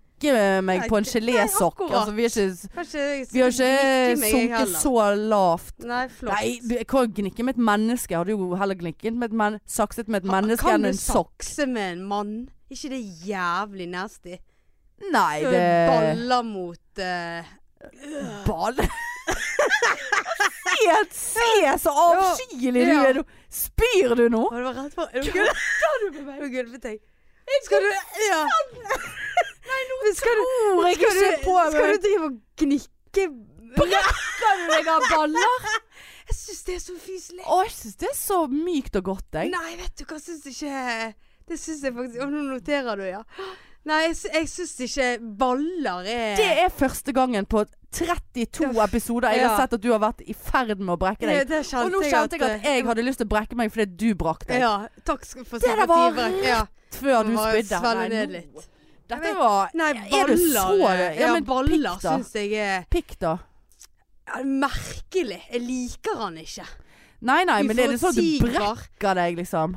A: meg på en
B: Nei,
A: gelésokk.
B: akkurat.
A: Altså, vi har ikke,
B: Kanskje jeg
A: vi har
B: stikker
A: ikke
B: meg, jeg
A: sunket
B: heller.
A: så lavt.
B: Nei, flott.
A: Nei, du, jeg kan gnikke med et menneske. Jeg hadde jo heller gnikket med et men sakset med et menneske
B: kan
A: enn
B: du
A: en sokk.
B: sakse med en mann? ikke det jævlig nasty?
A: Nei,
B: Du
A: det
B: baller mot eh,
A: Ball. Se, se så avskyelig du
B: Ja.
A: er nå. Spyr du nå?
B: Å, det var rett på Er du gulvet? Tar du på meg? Er du gulvet, jeg? Skal du Ja. Nei, nå skal du
A: Tror jeg
B: Skal du,
A: ikke på
B: skal du
A: meg.
B: drive og gnikke
A: Brekker du deg av baller?
B: Jeg syns det er så fyselig.
A: Å, jeg syns det er så mykt og godt, jeg.
B: Nei, vet du hva, jeg syns ikke Det syns jeg faktisk Å, nå noterer du, ja. Nei, jeg, sy- jeg syns ikke baller er
A: Det er første gangen på 32 episoder jeg har
B: Ja.
A: sett at du har vært i ferd med å brekke
B: det,
A: deg.
B: det
A: Og nå kjente jeg at jeg hadde lyst til å brekke meg fordi du brakk deg.
B: eh, Ja, takk skal- for
A: der var
B: sympatibrek. Ja,
A: Før du
B: nå har jeg
A: spydde.
B: svelget ned
A: nå-
B: litt.
A: Dette var
B: Nei,
A: Er du
B: baller
A: så
B: eh,
A: Ja,
B: Ja,
A: men
B: baller
A: pikk da.
B: syns jeg er
A: pikk, da.
B: ja, merkelig. Jeg liker han ikke.
A: Nei, nei, men det er litt sånn at du
B: Uforutsigbar.
A: brekker deg, liksom.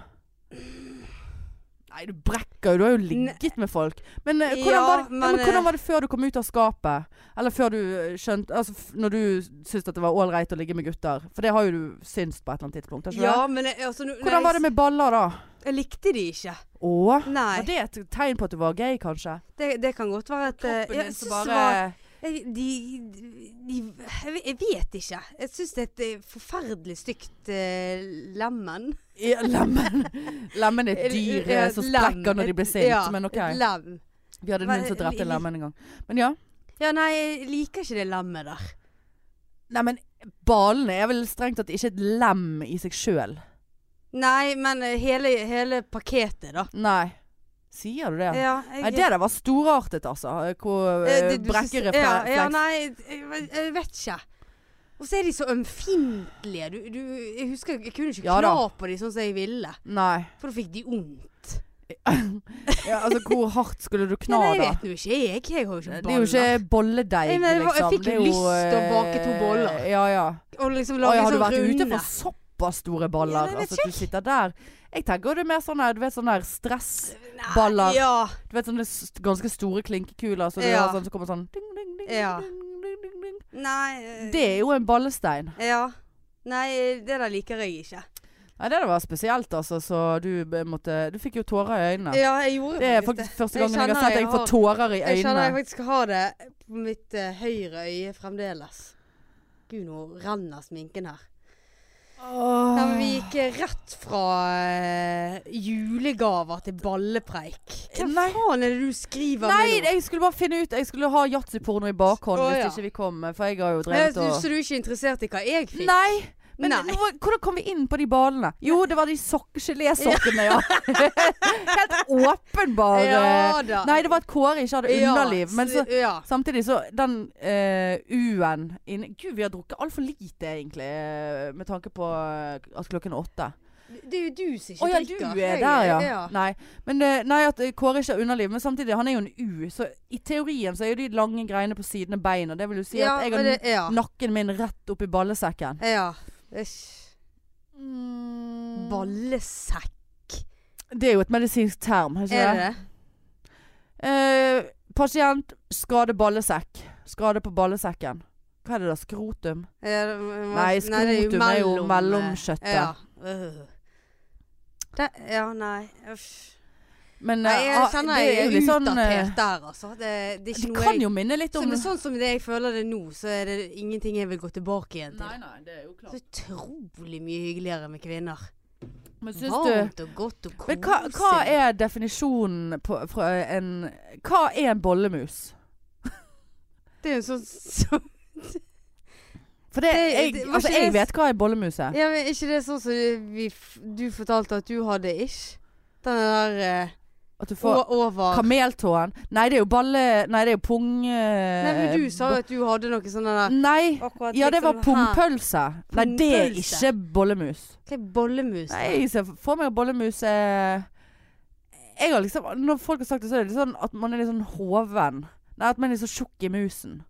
A: Nei, du brekker jo. Du har jo ligget med folk. Men, eh, hvordan,
B: Ja,
A: var det, ja,
B: men,
A: men
B: eh,
A: hvordan var det før du kom ut av skapet? Eller før du eh, skjønte Altså f- når du syntes at det var ålreit å ligge med gutter. For det har jo du syntes på et eller annet tidspunkt. har Ikke
B: Ja,
A: det?
B: men jeg, altså, nå- nei,
A: Hvordan var det med baller, da?
B: Jeg likte de ikke.
A: Å?
B: Nei.
A: Var det et tegn på at du var gay, kanskje?
B: Det, det kan godt være at eh,
A: Kroppen din
B: ja,
A: som
B: jeg syns det
A: bare
B: var Jeg, de, de jeg ve- Jeg vet ikke. Jeg syns det er et eh, forferdelig stygt eh, lemen.
A: ja, Lemen. Lemen er et dyr eh, som
B: Lem.
A: sprekker når de blir
B: Et-
A: sint.
B: Ja,
A: men OK.
B: et lem.
A: Vi hadde
B: Hva-
A: noen som drepte en
B: li-
A: lemen en gang. Men ja.
B: Ja, nei, jeg liker ikke det lemmet der.
A: Nei, men ballene er vel strengt tatt ikke et lem i seg sjøl.
B: Nei, men eh, hele, hele pakketet, da.
A: Nei. Sier du det?
B: Ja, jeg,
A: Nei, det der var storartet, altså. Hvor
B: Eh,
A: eh,
B: du- du syns-
A: brekkerefleks
B: Ja, ja, nei, jeg, jeg vet ikke. Og så er de så ømfintlige. Du, du, jeg husker jeg kunne ikke
A: Ja da.
B: kna på dem sånn som jeg ville.
A: Nei.
B: For da fikk de vondt.
A: Ja, altså, hvor hardt skulle du kna,
B: Nei, nei, jeg
A: da?
B: vet nå ikke. Jeg, jeg har jo ikke
A: Det er jo
B: baller.
A: ikke bolledeig,
B: Nei, men det var- jeg
A: liksom.
B: fikk
A: Det er
B: jo lyst til å
A: eh,
B: bake to boller.
A: Ja, ja.
B: Og liksom
A: Oi,
B: lage
A: har du
B: sånn
A: vært ute
B: runde.
A: for såpass store baller?
B: Ja, nei,
A: altså,
B: vet
A: at du sitter der. Jeg tenker det er mer sånn her, du vet, sånn her stress.
B: Nei,
A: baller.
B: Ja.
A: Du vet sånne s- ganske store klinkekuler så du
B: Ja.
A: har sånn, så kommer sånn ding, ding, ding,
B: Ja.
A: ding, ding, ding, ding.
B: Nei. eh,
A: Det er jo en ballestein.
B: Ja. Nei, det der liker jeg ikke.
A: Nei, det der var spesielt, altså. Så du b- måtte Du fikk jo tårer i øynene.
B: Ja, jeg gjorde
A: Det er faktisk første
B: Jeg
A: gangen jeg har
B: kjenner
A: sett
B: jeg
A: deg få
B: har-
A: tårer i
B: Jeg kjenner jeg
A: øynene.
B: faktisk har det på mitt eh, høyre øye fremdeles. Gud, nå renner sminken her.
A: Åh.
B: Ja, men vi gikk eh, rett fra eh, julegaver til ballepreik. Hva
A: Nei.
B: faen er det du skriver
A: Nei,
B: med nå?
A: jeg skulle bare finne ut Jeg skulle ha yatzyporno i bakhånd
B: Å, ja.
A: hvis ikke vi kom. For jeg har jo
B: Eh,
A: drevet
B: Så
A: og
B: så du er ikke interessert i hva jeg fikk?
A: Nei! Men
B: Nei.
A: nå- hvordan kom vi inn på de ballene? Jo, det var de sok gelésokkene, ja. Helt åpenbare
B: Ja da.
A: Nei, det var at Kåre ikke hadde
B: Ja,
A: underliv. Men så,
B: ja.
A: samtidig så Den eh, U-en inni Gud, vi har drukket altfor lite, egentlig, eh, med tanke på eh, at klokken er åtte.
B: Det er jo du som
A: Å
B: ikke
A: ja, du
B: drikker.
A: er
B: Jeg-
A: der, ja. Nei, men, eh, nei, at eh, Kåre ikke har underliv. Men samtidig, han er jo en U, så i teorien så er jo de lange greiene på siden av beina. Det vil jo si
B: ja,
A: at jeg
B: men
A: har
B: det, ja.
A: nakken min rett opp i ballesekken.
B: ja. Æsj.
A: Mm.
B: Mm. Ballesekk,
A: Det er jo et medisinsk term, er ikke
B: er
A: det?
B: det det?
A: Eh, pasient skade ballesekk. Skade på ballesekken. Hva er det da? Skrotum?
B: Ja, det må-
A: Nei, skrotum er jo
B: eh,
A: mellomkjøttet.
B: Ja. Øh. Det, ja, nei. Uff.
A: Men
B: Nei,
A: eh,
B: jeg
A: ah,
B: kjenner
A: det
B: jeg
A: er
B: er
A: jo litt sånn eh,
B: utdatert der, altså. Det, det er ikke
A: Det
B: noe
A: kan
B: jeg
A: jo minne litt om
B: Sånn, sånn som det jeg føler det nå, så er det ingenting jeg vil gå tilbake igjen til.
A: nei, det er jo
B: Så utrolig mye hyggeligere med kvinner.
A: Men syns du
B: Varmt og godt og koselig.
A: Men hva, hva er definisjonen på fra en Hva er en bollemus?
B: Det er jo sånn som
A: For det,
B: Det-
A: jeg,
B: det var
A: altså,
B: ikke
A: jeg
B: det-
A: vet hva en bollemus er.
B: Ja, men er ikke det sånn som vi, f- du fortalte at du hadde, ish? Den der eh,
A: At du får
B: o- over
A: kameltåen. Nei, det er jo balle Nei, det er jo pung... eh,
B: Nei, men du sa jo at du hadde noe sånn der
A: Nei.
B: akkurat
A: Ja, det var
B: liksom her.
A: pungpølse. Nei, det er
B: Pungpølse.
A: ikke bollemus.
B: Hva er bollemus?
A: Nei, jeg ser for meg at bollemus er jeg har liksom, Når folk har sagt det, så er det litt sånn at man er litt sånn hoven. Nei, at man er litt så tjukk i musen.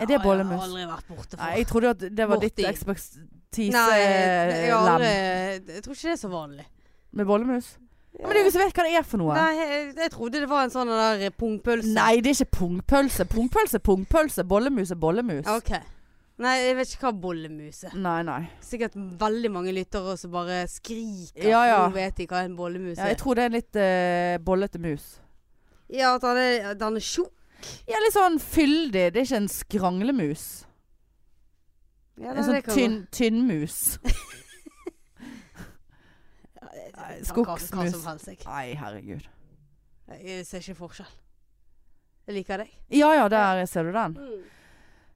A: Er det bollemus?
B: Jeg har aldri vært borte
A: Nei,
B: for.
A: jeg trodde at det var
B: Borti.
A: ditt ekspertise
B: Nei, jeg, har
A: lem
B: aldri, jeg tror ikke det er så vanlig.
A: med bollemus. Ja. Men det er jo ingen som vet hva det er for noe.
B: Nei, jeg, jeg trodde det var en sånn der pungpølse.
A: Nei, det er ikke pungpølse. Pungpølse, er pungpølse. Bollemus er bollemus.
B: Ok. Nei, jeg vet ikke hva bollemus er.
A: Nei, nei.
B: Sikkert veldig mange lyttere som bare skriker.
A: Ja, ja.
B: Nå vet de hva en bollemus
A: Ja, jeg
B: er.
A: tror det er en litt eh, bollete mus.
B: Ja, at han er, at han er tjukk.
A: Ja, litt sånn fyldig. Det er ikke en skranglemus.
B: Ja,
A: En
B: nei,
A: sånn
B: det kan
A: tynn, tynnmus.
B: gå.
A: Nei,
B: Jeg kan hva- Hva
A: skogsmus.
B: som helst, jeg.
A: Nei, herregud.
B: Jeg ser ikke forskjell. Jeg liker deg.
A: Ja ja, der ser du den.
B: Mm.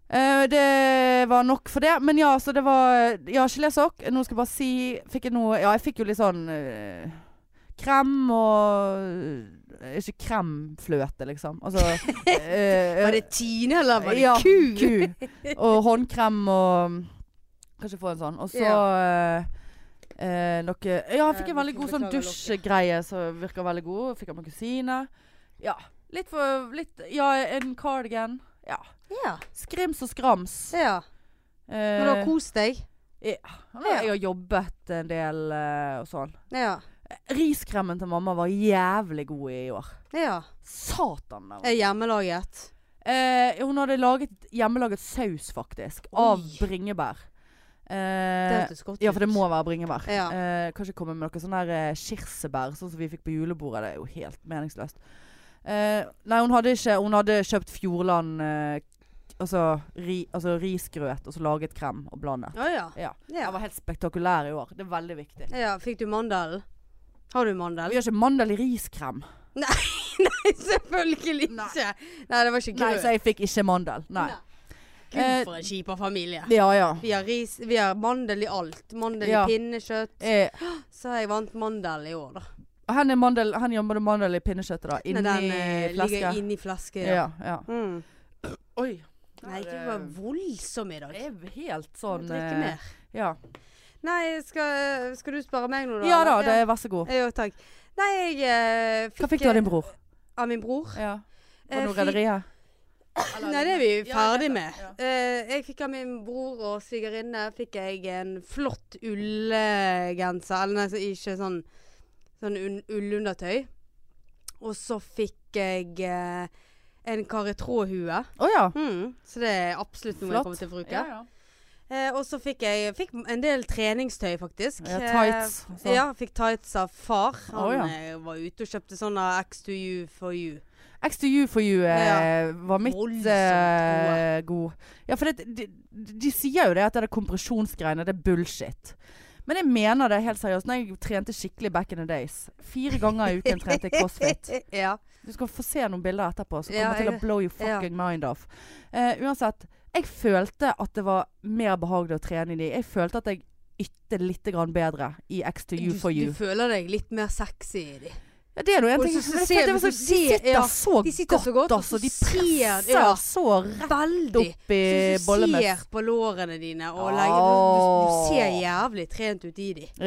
A: Eh, det var nok for det. Men ja, så det var Ja, gelésokk. Nå skal jeg bare si Fikk jeg noe Ja, jeg fikk jo litt sånn eh, krem og eh, Ikke kremfløte, liksom. Altså eh,
B: Var det Tine, eller var det
A: ja,
B: ku?
A: ku. Og håndkrem og Kanskje få en sånn. Og så eh, eh, noe Ja, jeg fikk en
B: Eh,
A: veldig
B: vi
A: god
B: får
A: sånn
B: beklage
A: dusjgreie som virker veldig god. Fikk av min kusine. Ja. Litt for litt, Ja, en cardigan. Ja.
B: Ja.
A: Skrims og skrams.
B: ja. Men du har
A: Eh,
B: kost deg?
A: ja, jeg har jobbet en del eh, og sånn.
B: Ja.
A: Riskremen til mamma var jævlig god i år.
B: ja.
A: Satan, den var
B: Er hjemmelaget?
A: Eh, hun hadde laget hjemmelaget saus, faktisk. Av
B: Oi.
A: bringebær.
B: Det
A: Eh,
B: hørtes godt ut.
A: ja, for det må være bringebær.
B: Ja.
A: Eh, kanskje komme med noe sånn der eh, kirsebær, sånn som vi fikk på julebordet. Det er jo helt meningsløst. Eh, nei, hun hadde ikke Hun hadde kjøpt Fjordland eh, altså, ri, altså risgrøt, og så laget krem og blandet.
B: Å ja.
A: Ja.
B: ja.
A: Den var helt spektakulær i år. Det er veldig viktig.
B: ja. Fikk du mandelen? Har du mandel?
A: Vi har ikke mandel i riskrem.
B: Selvfølgelig
A: Nei.
B: ikke! Nei, det var ikke
A: Nei,
B: grøt.
A: så jeg fikk ikke mandel. Nei. Eh,
B: Gud, for en kjip familie.
A: Ja ja.
B: Vi har ris, vi har mandel i alt. Mandel
A: Ja.
B: i pinnekjøtt.
A: Eh,
B: Så har jeg vant mandel i år, da.
A: Hen er mandel, hen jobber det mandel i pinnekjøttet da?
B: Nei,
A: Inni
B: den eh,
A: fleske?
B: ligger inni flaske.
A: ja, ja.
B: Mm.
A: Oi. eh,
B: Nei, du var voldsom i dag.
A: Det er helt
B: Jeg
A: sånn
B: drikker
A: eh,
B: mer.
A: Ja,
B: Nei, skal, skal du spare meg nå, da?
A: ja da,
B: eller?
A: det er vær så god.
B: Jo, takk. Nei, jeg eh, fikk
A: Hva fikk du av din bror?
B: Av min bror.
A: Ja.
B: Eh,
A: Var det noe
B: fikk-
A: rederiet?
B: Nei, det er vi
A: Ja,
B: ferdig
A: jeg vet det,
B: med.
A: ja.
B: Eh, jeg fikk av min bror og svigerinne fikk jeg en flott ullgenser. Eller nei, så ikke sånn, sånn un ullundertøy. Og så fikk jeg eh, en karetrådhue.
A: Å ja.
B: Mm, så det er absolutt noe
A: Flott.
B: jeg kommer til å bruke.
A: Ja, ja.
B: Eh, og så fikk jeg fikk en del treningstøy, faktisk.
A: Ja, tights. og
B: Eh,
A: sånn.
B: ja, fikk tights av far. Han
A: Å, ja.
B: eh, var ute og kjøpte sånne X2U for you.
A: X to you for you eh, var mitt
B: Voldsomt
A: eh, god. Ja, for det, de, de sier jo det at det er kompresjonsgreiene, det er bullshit. Men jeg mener det helt seriøst. Når jeg trente skikkelig back in the days. Fire ganger i uken trente jeg crossfit.
B: ja.
A: Du skal få se noen bilder etterpå som
B: Ja,
A: kommer til
B: jeg-
A: å blow your
B: ja.
A: fucking mind off. Eh, uansett, jeg følte at det var mer behagelig å trene i de. Jeg følte at jeg ytte litt grann bedre i X to you
B: du,
A: for you.
B: du føler deg litt mer sexy i de.
A: Ja, det er noe en
B: Og
A: ting.
B: så-
A: som-
B: så
A: det-
B: ser
A: det var
B: du-
A: sånn,
B: så
A: de
B: ser-
A: sitter
B: ja,
A: så
B: de sitter
A: godt,
B: så godt, og
A: altså.
B: så
A: De
B: ser-
A: presser
B: ja.
A: så rett
B: Veldig.
A: opp i
B: Så du
A: bollemøss.
B: ser på lårene dine og legger du, du, du ser
A: Åh.
B: jævlig trent ut i de.
A: Ja.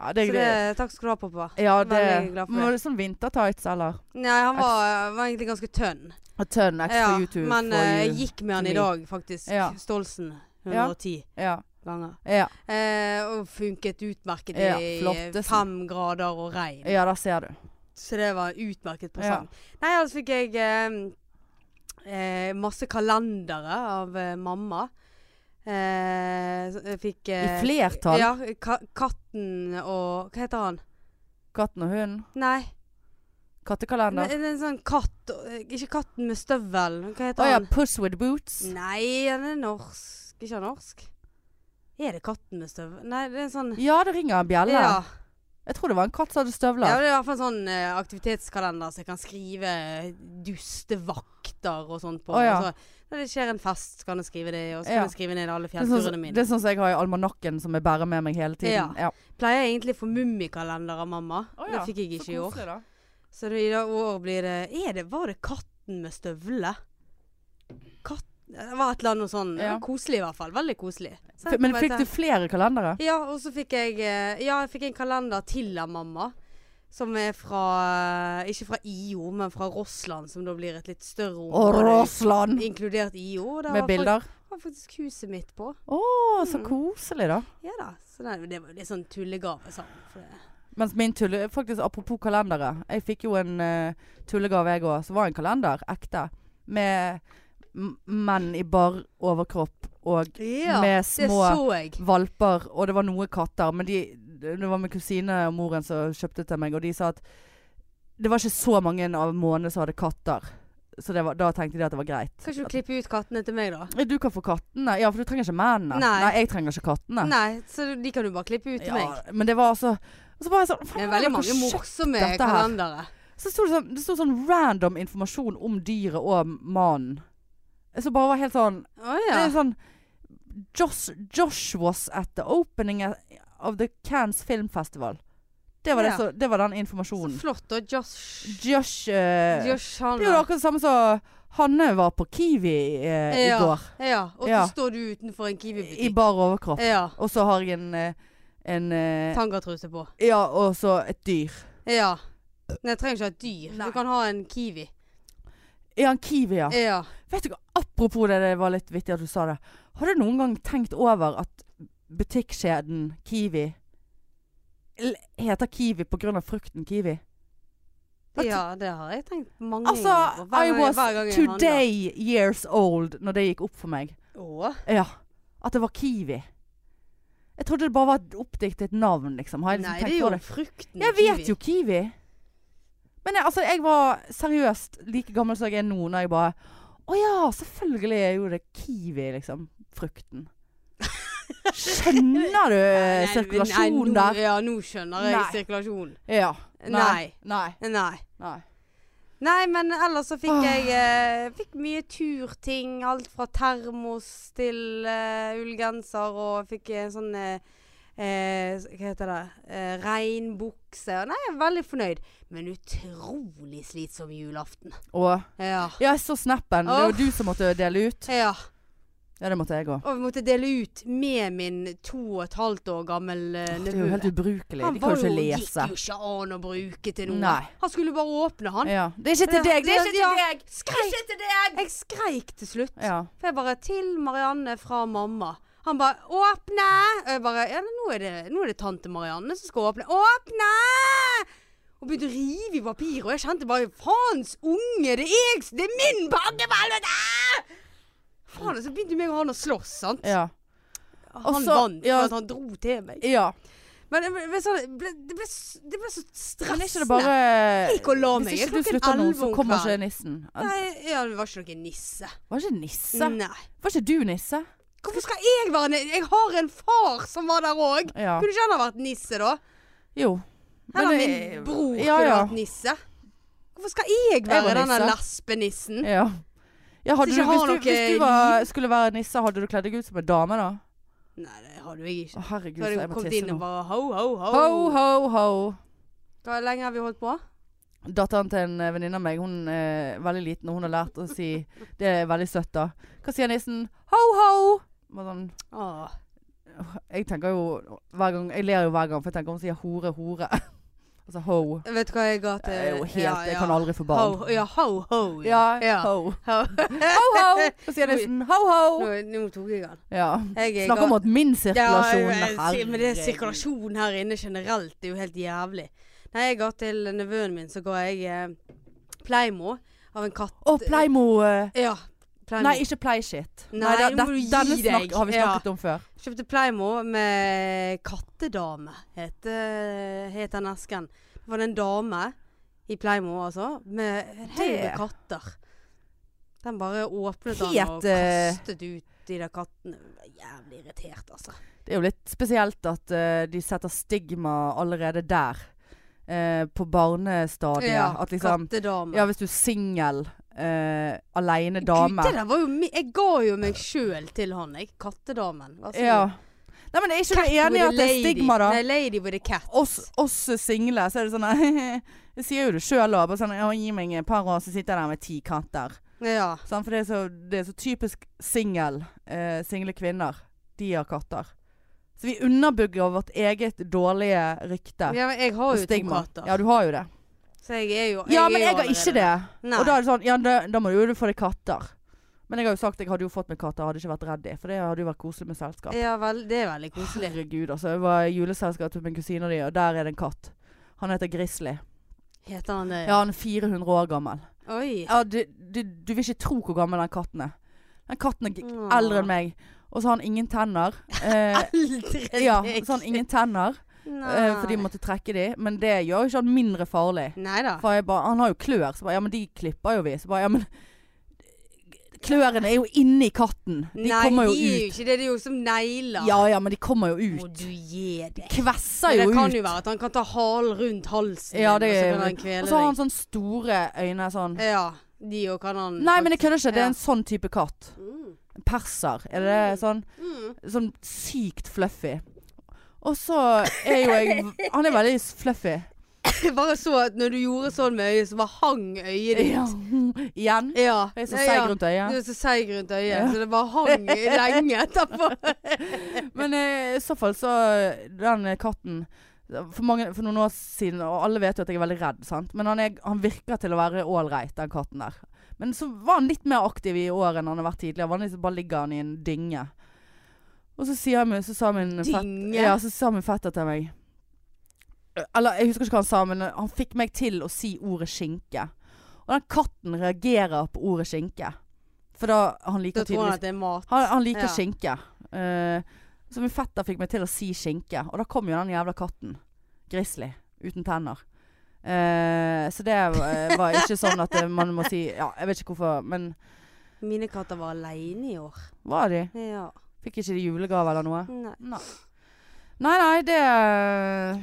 A: ja det
B: Så
A: er
B: det,
A: greit.
B: takk skal du ha, pappa.
A: Ja, det
B: Veldig glad for
A: Men Var det sånn vintertights, eller?
B: Nei, han var, var egentlig ganske tønn.
A: Og tønn X
B: Ja,
A: for YouTube.
B: men
A: for
B: eh,
A: you.
B: gikk med han i
A: me.
B: dag, faktisk.
A: Ja.
B: Stolsen.
A: Ja.
B: 110
A: Ja.
B: ganger.
A: Ja,
B: Eh, og funket utmerket
A: Ja,
B: i
A: flottesen.
B: fem grader og regn.
A: ja der ser du.
B: Så det var en utmerket presang. Nei, altså fikk jeg eh, eh, masse kalendere av eh, mamma. Eh, så jeg fikk
A: I
B: eh,
A: flertall.
B: Ja. Ka katten og Hva heter han?
A: Katten og hunden.
B: Nei,
A: Kattekalender.
B: det er en sånn katt eh, Ikke katten med støvel. Hva
A: Å
B: heter
A: ja,
B: han?
A: Puss with boots.
B: Mm. Nei, han er norsk. Ikke han norsk? Er det katten med støvel? Nei, det er en sånn
A: Ja, det ringer en bjelle.
B: Ja.
A: Jeg tror det var en katt som hadde
B: Ja,
A: støvler.
B: det er i hvert fall en sånn eh, aktivitetskalender som jeg kan skrive dustevakter og sånt på.
A: Å, ja.
B: Og så, når det skjer en fest, så kan jeg skrive det, og så
A: Ja.
B: kan jeg skrive ned alle
A: det, er sånn,
B: fjellturene
A: som- det
B: mine.
A: er sånn som jeg har i almanakken som jeg bærer med meg hele tiden. Ja.
B: Pleier jeg egentlig å få mummikalender av mamma.
A: Å, ja.
B: Det fikk jeg ikke i år.
A: koselig, da.
B: Så det, i dag- år blir det Er det Var det katten med støvle? Katt Det var et eller annet sånn. Det
A: Ja.
B: var Koselig i hvert fall. Veldig koselig. Så
A: F-
B: jeg
A: Men
B: kommer
A: fikk
B: til-
A: du flere kalendere?
B: Ja, og så fikk jeg eh, Ja, jeg fikk en kalender til av mamma. Som er fra eh, Ikke fra IO, men fra Rossland, som da blir et litt større
A: Og
B: område.
A: Rossland!
B: Inkludert IO. og der
A: Med
B: var fak-
A: bilder.
B: var faktisk huset mitt på.
A: Å, så
B: Mm.
A: koselig, da.
B: Ja da. Så det, det var jo litt sånn tullegave sammen. For det.
A: Mens min tulle Faktisk, apropos kalendere. Jeg fikk jo en eh, tullegave, jeg òg, som var en kalender. Ekte. Med m- menn i bar overkropp og
B: Ja,
A: med
B: det
A: små
B: så jeg.
A: valper, og det var noen katter. Men de, det var min kusine og moren som kjøpte til meg, og de sa at det var ikke så mange av månedene som hadde katter. Så det var, da tenkte de at det var greit.
B: Kan ikke du klippe ut kattene til meg, da?
A: At- Du kan få kattene. Ja, for du trenger ikke mennene.
B: Nei.
A: jeg trenger ikke kattene.
B: Nei, så de kan du bare klippe ut til
A: ja,
B: meg.
A: men det var altså og så var jeg sånn,
B: Det er
A: faen,
B: veldig
A: dere
B: mange
A: kjøpt-
B: morsomme
A: dette her.
B: kalendere.
A: Så sto det sånn, det sto sånn random informasjon om dyret og mannen. Så bare var helt sånn
B: Å
A: Det
B: ja.
A: er sånn Josh, Josh was at the opening of the Cannes Film Festival. Det var,
B: Ja.
A: det, så, det var den
B: Så
A: informasjonen.
B: flott. Og Josh
A: Josh, eh,
B: Josh
A: Det er jo
B: Hanna.
A: akkurat det samme som Hanne var på Kiwi eh,
B: Ja.
A: i går.
B: Ja. Og så
A: Ja.
B: står du utenfor
A: I
B: en Kiwi-butikk.
A: bar overkropp.
B: Ja.
A: Og så har jeg en, eh, en eh,
B: Tangatruse på.
A: Ja, og så et dyr.
B: Ja. Nei, jeg trenger ikke ha et dyr.
A: Nei.
B: Du kan ha en kiwi.
A: Ja, en kiwi, ja.
B: Ja. ja.
A: Vet du hva, apropos det, det var litt vittig at du sa det. Har du noen gang tenkt over at butikkjeden Kiwi l- heter Kiwi pga. frukten kiwi? At-
B: det har jeg tenkt mange
A: Altså,
B: ganger. på. Hver
A: I
B: gang-
A: was
B: hver gang jeg handler.
A: today years old når det gikk opp for meg.
B: Å,
A: Ja. At det var Kiwi. Jeg trodde det bare var et oppdiktet navn, liksom. Har jeg liksom
B: Nei, det
A: tenkt på
B: er jo
A: det?
B: frukten
A: Jeg vet jo Kiwi. Men jeg, altså, jeg var seriøst like gammel som jeg er nå, når jeg bare Å ja, selvfølgelig er jo det Kiwi, liksom. Frukten. Skjønner du
B: Nei, nei,
A: sirkulasjonen
B: nei, nå-
A: eh, der?
B: Ja, nå skjønner jeg
A: Nei.
B: sirkulasjonen.
A: Ja.
B: Nei.
A: Nei.
B: Nei.
A: Nei.
B: Nei, men ellers så
A: Åh.
B: fikk jeg eh, fikk mye turting. Alt fra termos til eh, ullgenser og fikk en sånn eh, eh, Hva heter det? Eh, Regnbukse. Og Nei, jeg er veldig fornøyd. Men utrolig slitsom julaften.
A: Og
B: Ja.
A: Ja, jeg så snappen. Det var du som måtte dele ut.
B: ja.
A: Ja, det måtte jeg òg.
B: Og vi måtte dele ut med min to og et halvt år gammel eh,
A: Det er jo
B: nevø.
A: helt ubrukelig.
B: Han
A: De kan jo
B: var
A: ikke
B: jo-
A: lese.
B: gikk jo ikke an å bruke til noe.
A: Nei.
B: Han skulle bare åpne, han.
A: Ja. Det er ikke til deg! Det er ikke til
B: Ja.
A: deg!
B: Skreik.
A: Ikke til deg!
B: Jeg skreik til slutt.
A: Ja.
B: For jeg bare Til Marianne fra mamma. Han bare 'Åpne!' Og jeg bare Ja, nå er det, nå er det tante Marianne som skal åpne. 'Åpne!' Og begynte å rive i papiret, og jeg kjente bare 'Faens unge, det er jeg s- Det er min pakke, for helvete!' Faen, og så begynte meg og han å slåss, sant.
A: Ja.
B: han
A: og så-
B: vant,
A: ja.
B: for at han dro til meg.
A: ja.
B: Men jeg ble, jeg ble, sånn- det ble, det ble, s- det ble så
A: Men er ikke det
B: stressende.
A: bare
B: gikk og la meg.
A: Hvis ikke du
B: Klokken
A: slutter nå,
B: 11
A: så
B: om
A: kommer
B: kvelden.
A: ikke nissen. Han
B: Nei, ja, det var ikke noen nisse.
A: Var ikke nisse?
B: Nei.
A: Var ikke du nisse?
B: Hvorfor skal jeg være nisse? Jeg har en far som var der òg.
A: Ja.
B: Kunne ikke han ha vært nisse, da?
A: Jo.
B: Eller
A: det-
B: min bror
A: ja,
B: kunne
A: ja.
B: vært nisse. Hvorfor skal jeg
A: Jeg var
B: være denne
A: nisse.
B: lesbenissen?
A: Ja. ja hadde
B: Hvis
A: du,
B: ikke
A: hvis
B: har
A: du,
B: noe
A: hvis du var, skulle være nisse, hadde du kledd deg ut som en dame da?
B: Nei, det hadde jeg
A: Å, herregud,
B: ikke. Så
A: så
B: hadde
A: jeg
B: jeg
A: må
B: kommet
A: tisse
B: inn og
A: nå.
B: bare ho, ho, ho.
A: Ho, ho, ho.
B: Hvor lenge har vi holdt på?
A: Datteren til en eh, venninne av meg, hun er veldig liten, og hun har lært å si Det er veldig søtt, da. Hva sier nissen? Ho, ho! Bare Sånn,
B: Åh.
A: jeg tenker jo hver gang Jeg ler jo hver gang, for jeg tenker hun sier hore, hore. altså ho.
B: Vet du hva jeg ga
A: Det
B: til
A: er jo helt
B: Eh, Ja,
A: Jeg
B: ja.
A: kan aldri få barn.
B: Ho, ja, ho, ho.
A: Ja,
B: ja.
A: ho.
B: Ho.
A: Ho, ho! Hva sier nissen? Ho,
B: Nå,
A: ho!
B: nå tok jeg den.
A: Ja.
B: Jeg, jeg
A: Snakker
B: ga-
A: om at min sirkulasjon
B: Ja, jeg- jeg- men det er
A: herregud.
B: sirkulasjon her inne generelt. Det er jo helt jævlig. Nei, jeg ga til nevøen min, så ga jeg eh, Pleimo av en katt.
A: Å, Pleimo eh,
B: Ja, Pleimo.
A: Nei, ikke Pleieshit.
B: Nei,
A: Nei, det-
B: nå
A: det-
B: må du gi
A: denne
B: deg.
A: snakk har vi snakket om før.
B: Kjøpte Pleimo med kattedame, het, eh, het den esken. Det var det en dame i Pleimo, altså, med en haug med
A: Det-
B: katter. Den bare åpnet
A: Helt,
B: den og
A: eh,
B: kastet ut de der kattene. Jeg ble Jævlig irritert, altså.
A: Det er jo litt spesielt at eh, de setter stigma allerede der. eh, på barnestadiet. at liksom
B: kattedame.
A: Ja, hvis du er singel, uh, aleine
B: Gud,
A: dame.
B: det der var jo mi- Jeg ga jo meg sjøl til han, jeg. Kattedamen. Vær så
A: Ja.
B: god.
A: Nei, men er ikke
B: altså Cat
A: du enig i
B: with a
A: at det er
B: lady.
A: stigma, da?
B: Nei, lady with a cat.
A: Oss, oss single, så er det sånn Det sier jo du sjøl òg. Sånn, «Ja, 'Gi meg et par år, så sitter jeg der med ti katter'.
B: Ja.
A: Sant? For det er så, det er så typisk singel. Eh, single kvinner. De har katter. Så vi underbygger vårt eget dårlige rykte.
B: ja men jeg har
A: og
B: jo to
A: stigma.
B: katter.
A: Ja, du har jo det.
B: Så jeg er jo
A: Ja,
B: er
A: men
B: jo
A: jeg har
B: allerede
A: ikke
B: der.
A: det.
B: Nei.
A: Og da er det sånn, ja, da, da må du jo få deg katter. Men jeg har jo sagt jeg hadde jo fått meg katter, hadde ikke vært redd de. For det hadde jo vært koselig med selskap.
B: Ja, vel, det er veldig koselig.
A: Herregud, altså. Jeg var i juleselskap med min kusine og de, og der er det en katt. Han heter Grizzly.
B: Heter han det?
A: Ja, han er 400 år gammel.
B: Oi.
A: Ja, du, du, du vil ikke tro hvor gammel den katten er. Den katten er g-
B: Åh.
A: eldre enn meg. Og så har han ingen tenner. Eh,
B: Eldre
A: ja, så har han ingen tenner, eh, for de
B: må
A: måtte trekke de. Men det gjør jo ikke han mindre farlig.
B: Nei da.
A: For jeg bare, han har jo klør, så bare, ja, men de klipper jo vi. Så bare, ja, men Klørne er jo inni katten. De
B: Nei,
A: kommer jo
B: de er jo
A: ut.
B: ikke det. Det er jo som negler.
A: Ja ja, men de kommer jo
B: Må
A: ut.
B: du gi deg.
A: Kvesser
B: Men
A: jo
B: det
A: ut.
B: kan jo være at han kan ta halen rundt halsen,
A: Ja,
B: din,
A: det
B: og så
A: er
B: kan han kvele
A: Og
B: deg.
A: så har han sånn store øyne sånn.
B: Ja, de òg kan han
A: Nei, men jeg kødder ikke. Det er en
B: Ja.
A: sånn type katt.
B: Mm.
A: Perser. Er det det? sånn?
B: Mm.
A: Sånn sykt fluffy. Og så er jo jeg Han er veldig fluffy.
B: Jeg bare så at når du gjorde sånn med øyet, så bare hang øyet ditt.
A: Ja. Igjen.
B: Ja.
A: Jeg er så
B: Nei,
A: seig
B: ja.
A: rundt
B: Du
A: øyet.
B: er så seig rundt øyet,
A: Ja.
B: så det bare hang lenge etterpå.
A: Men eh, i så fall så Den eh, katten for, mange, for noen år siden, og alle vet jo at jeg er veldig redd, sant. Men han, er, han virker til å være ålreit, den katten der. Men så var han litt mer aktiv i år enn han har vært tidligere. Vanligvis bare ligger han i en dynge. Og så sier min, så sa min fett-
B: Dynge.
A: Ja, så sa min fetter til meg Eller jeg husker ikke hva han sa, men han fikk meg til å si ordet skinke. Og den katten reagerer på ordet skinke. For da Han
B: Da
A: liker
B: tror han
A: tydeligvis
B: at det er mat.
A: Han, han liker
B: Ja.
A: skinke. Eh, så min fetter fikk meg til å si skinke. Og da kom jo den jævla katten. Grizzly. Uten tenner. Eh, så det eh, var ikke sånn at eh, man må si Ja, jeg vet ikke hvorfor, men
B: Mine katter var aleine i år.
A: hva er de?
B: Ja.
A: Fikk ikke de julegave eller noe?
B: Nei.
A: Nei. Nei, nei, det eh,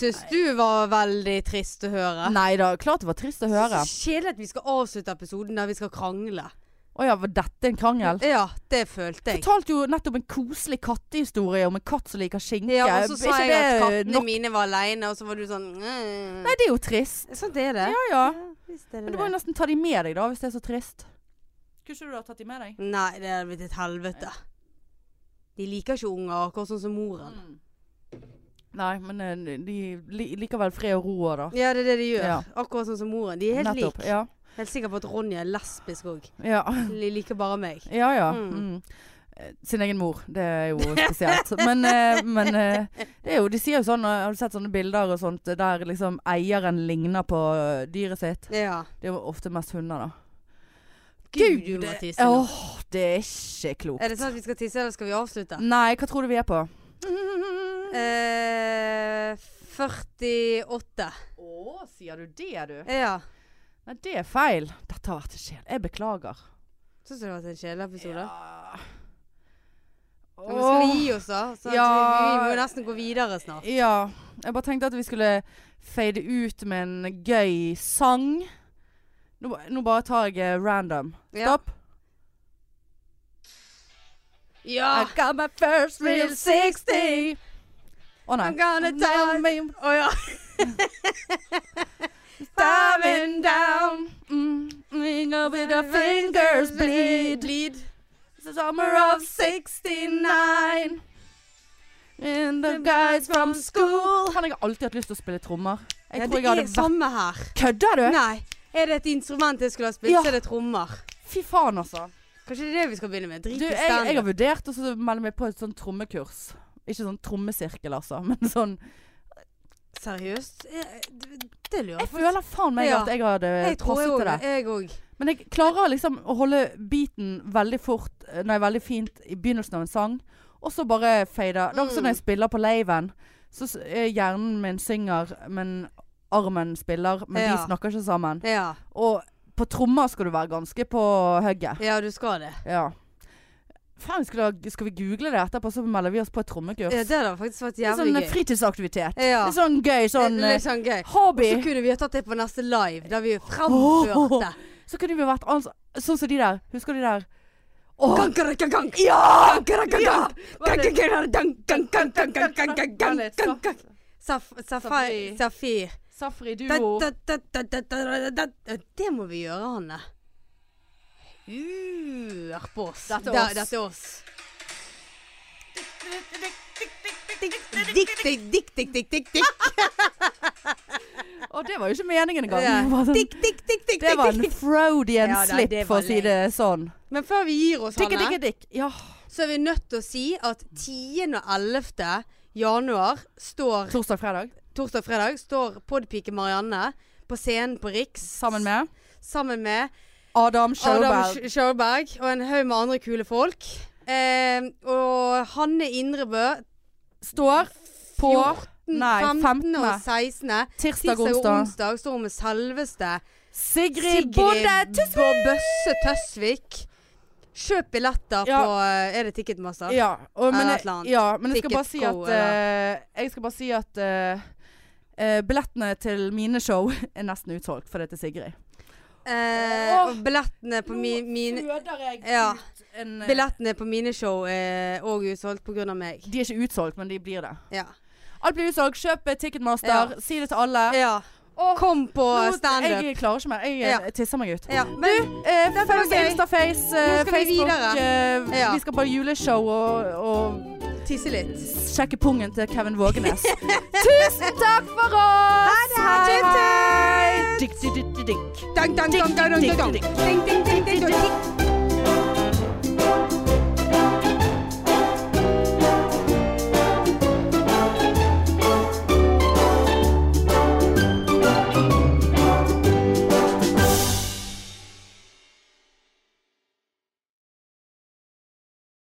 B: Syns du var veldig trist å høre?
A: Nei da, klart det var trist å høre.
B: Så Kjedelig at vi skal avslutte episoden der vi skal krangle.
A: Å Å ja, var dette en krangel?
B: Ja, det følte jeg.
A: Fortalte jo nettopp en koselig kattehistorie om en katt som liker skinke.
B: Ja, og så
A: Er
B: sa
A: ikke
B: jeg at
A: det
B: kattene
A: nok-
B: mine var aleine, og så var du sånn mm.
A: Nei, det er jo trist.
B: Sånn er det.
A: Ja ja.
B: visst er
A: Men
B: det
A: du må jo
B: det.
A: nesten ta de med deg, da, hvis det er så trist. Kunne ikke du ha tatt de med deg?
B: Nei, det hadde blitt et helvete. De liker ikke unger, akkurat sånn som moren.
A: Nei, men eh, de li- liker vel fred og ro òg, da.
B: Ja, det er det de gjør.
A: Ja.
B: Akkurat sånn som moren. De er helt
A: Nettopp,
B: like.
A: Ja.
B: Helt sikker på at Ronja er lesbisk òg.
A: Ja.
B: De liker bare meg.
A: Ja ja.
B: Mm.
A: Mm. Eh, Sin egen mor, det er jo spesielt. Men, eh, men eh, det er jo, de sier jo sånn, eh, har du sett sånne bilder og sånt eh, der liksom eieren ligner på eh, dyret sitt?
B: Ja.
A: Det er jo ofte mest hunder, da.
B: Gud,
A: Gud,
B: du må
A: det-
B: tisse nå.
A: Åh, det er ikke klokt.
B: Er det sånn at vi skal tisse, eller skal vi avslutte?
A: Nei, hva tror du vi er på?
B: Eh, 48.
A: Å, sier du det, du?
B: Ja.
A: Nei, det er feil. Dette har vært en sjel. Jeg beklager.
B: Syns du det har vært en kjeleepisode?
A: Ja.
B: Men Skal
A: Åh.
B: vi gi oss, da? Så at vi,
A: Ja.
B: vi må nesten gå videre snart.
A: Ja. Jeg bare tenkte at vi skulle fade ut med en gøy sang. Nå, ba- nå bare tar jeg eh, random.
B: Ja.
A: Stopp.
B: Ja!
A: I got my first real 60. Å nei.
B: I'm gonna tell me Å ja.
A: Diving down. Mm, ring of it, the fingers bleed. It's the summer of 69. And the guys from school. Han jeg har alltid hatt lyst til å spille trommer. Jeg
B: ja,
A: tror
B: det
A: jeg
B: er
A: hadde vært
B: samme her.
A: sånn- Kødder du?
B: Nei. Er det et instrument jeg skulle ha spilt,
A: Ja.
B: så er det trommer.
A: Fy faen, altså.
B: Kanskje det er det vi skal begynne med? Drit
A: Du,
B: i
A: jeg, jeg har
B: standup.
A: vurdert å så melde meg på et sånn trommekurs. Ikke sånn trommesirkel, altså, men sånn
B: Seriøst? Eh, Det det lurer
A: Jeg
B: jeg på.
A: føler faen meg
B: Ja.
A: at jeg hadde
B: Jeg tror
A: passet
B: jeg
A: til
B: òg
A: det.
B: Jeg òg.
A: Men jeg klarer liksom å holde beaten veldig fort eh, Nei, veldig fint i begynnelsen av en sang, og så bare fader. Det er også
B: Mm.
A: når jeg spiller på laven, så s- eh, hjernen min synger, men armen spiller, men
B: Ja.
A: de snakker ikke sammen.
B: Ja.
A: Og på trommer skal du være ganske på hugget.
B: ja, du skal det.
A: Ja. Faen, skal, skal vi google det etterpå, så melder vi oss på et trommekurs?
B: Ja, det hadde faktisk
A: Litt
B: vært jævlig
A: sånn
B: gøy.
A: fritidsaktivitet.
B: Ja.
A: Litt sånn gøy sånn
B: Det er litt sånn gøy.
A: eh, hobby.
B: Så kunne vi ha tatt det på neste live, der vi fremførte.
A: Så kunne vi vært altså, sånn som de der. Husker de der? Åh,
B: Gang, gang, gang, gang.
A: ja!
B: Gang, gang, gang, gang. Gang, gang, gang, gang, gang, gang, gang, gang, gang, gang, gang, gang, gang. Saf-
A: Safari.
B: Safari Safir.
A: Safri
B: Da,
A: duo.
B: da, da, da, da, da, da, da, da. Det må vi gjøre, Hanne. Hør på oss.
A: Dette er
B: Da-
A: oss.
B: Dette er oss. Dikk, dikk, dikk, dikk, dikk, dikk, dikk.
A: Og det var jo ikke meningen engang.
B: Ja.
A: Det var sånn-
B: Dikk, dikk, dikk, dikk,
A: Det var
B: dikk,
A: en
B: dikk.
A: Frodian
B: Ja, da,
A: slip,
B: det var
A: for å si
B: leit.
A: det sånn.
B: Men før vi gir oss,
A: Dikke,
B: Hanne,
A: dikke, dikk. Ja.
B: så er vi nødt til å si at 10. og 11. januar står
A: Torsdag, fredag.
B: torsdag og fredag står podpike Marianne på scenen på Riks
A: Sammen med
B: sammen med
A: Adam
B: Adam
A: Sjøberg.
B: Sch- Sjørberg og en haug med andre kule folk. Eh, og Hanne Indrebø
A: Står på
B: 14.,
A: Nei,
B: 15.
A: 15.
B: og 16.
A: tirsdag,
B: Tirsdag og
A: onsdag.
B: onsdag står hun med selveste
A: Sigrid
B: Sigrid
A: Bonde Tusvik!
B: Bo- Bøsse Tøsvik. Kjøp billetter
A: Ja.
B: på eh, Er det Ticketmaster?
A: Ja, og, men,
B: Eller
A: jeg-
B: et eller annet.
A: ja, men jeg skal bare
B: Ticket
A: si
B: Co,
A: at eh, Jeg skal bare si at eh, eh, billettene til mine show er nesten utsolgt, for det er til Sigrid.
B: Eh,
A: Åh,
B: og billettene på mi, mine
A: føder jeg
B: Ja.
A: ut en eh,
B: Billettene på mine show er òg utsolgt pga. meg.
A: De er ikke utsolgt, men de blir det.
B: Ja.
A: Alt blir utsolgt. Kjøp eh, Ticketmaster.
B: Ja.
A: Si det til alle.
B: ja.
A: Åh,
B: Kom på
A: nå-
B: standup.
A: Jeg klarer ikke mer. Jeg eh,
B: Ja.
A: tisser meg ut.
B: Ja,
A: Du,
B: men
A: eh,
B: dette var
A: følg oss
B: gøy.
A: Instaface,
B: Nå
A: eh,
B: skal vi
A: Facebook.
B: videre.
A: eh,
B: Ja.
A: Vi skal på juleshow og, og
B: tisse litt.
A: sjekke pungen til Kevin Vågenes. Tusen takk for oss!
B: Ha det, ha det.
A: Dick, dick, dick, dick, dick.
B: Dang, dang, dang, dang, dang, dang. Ding, ding, ding, ding, ding.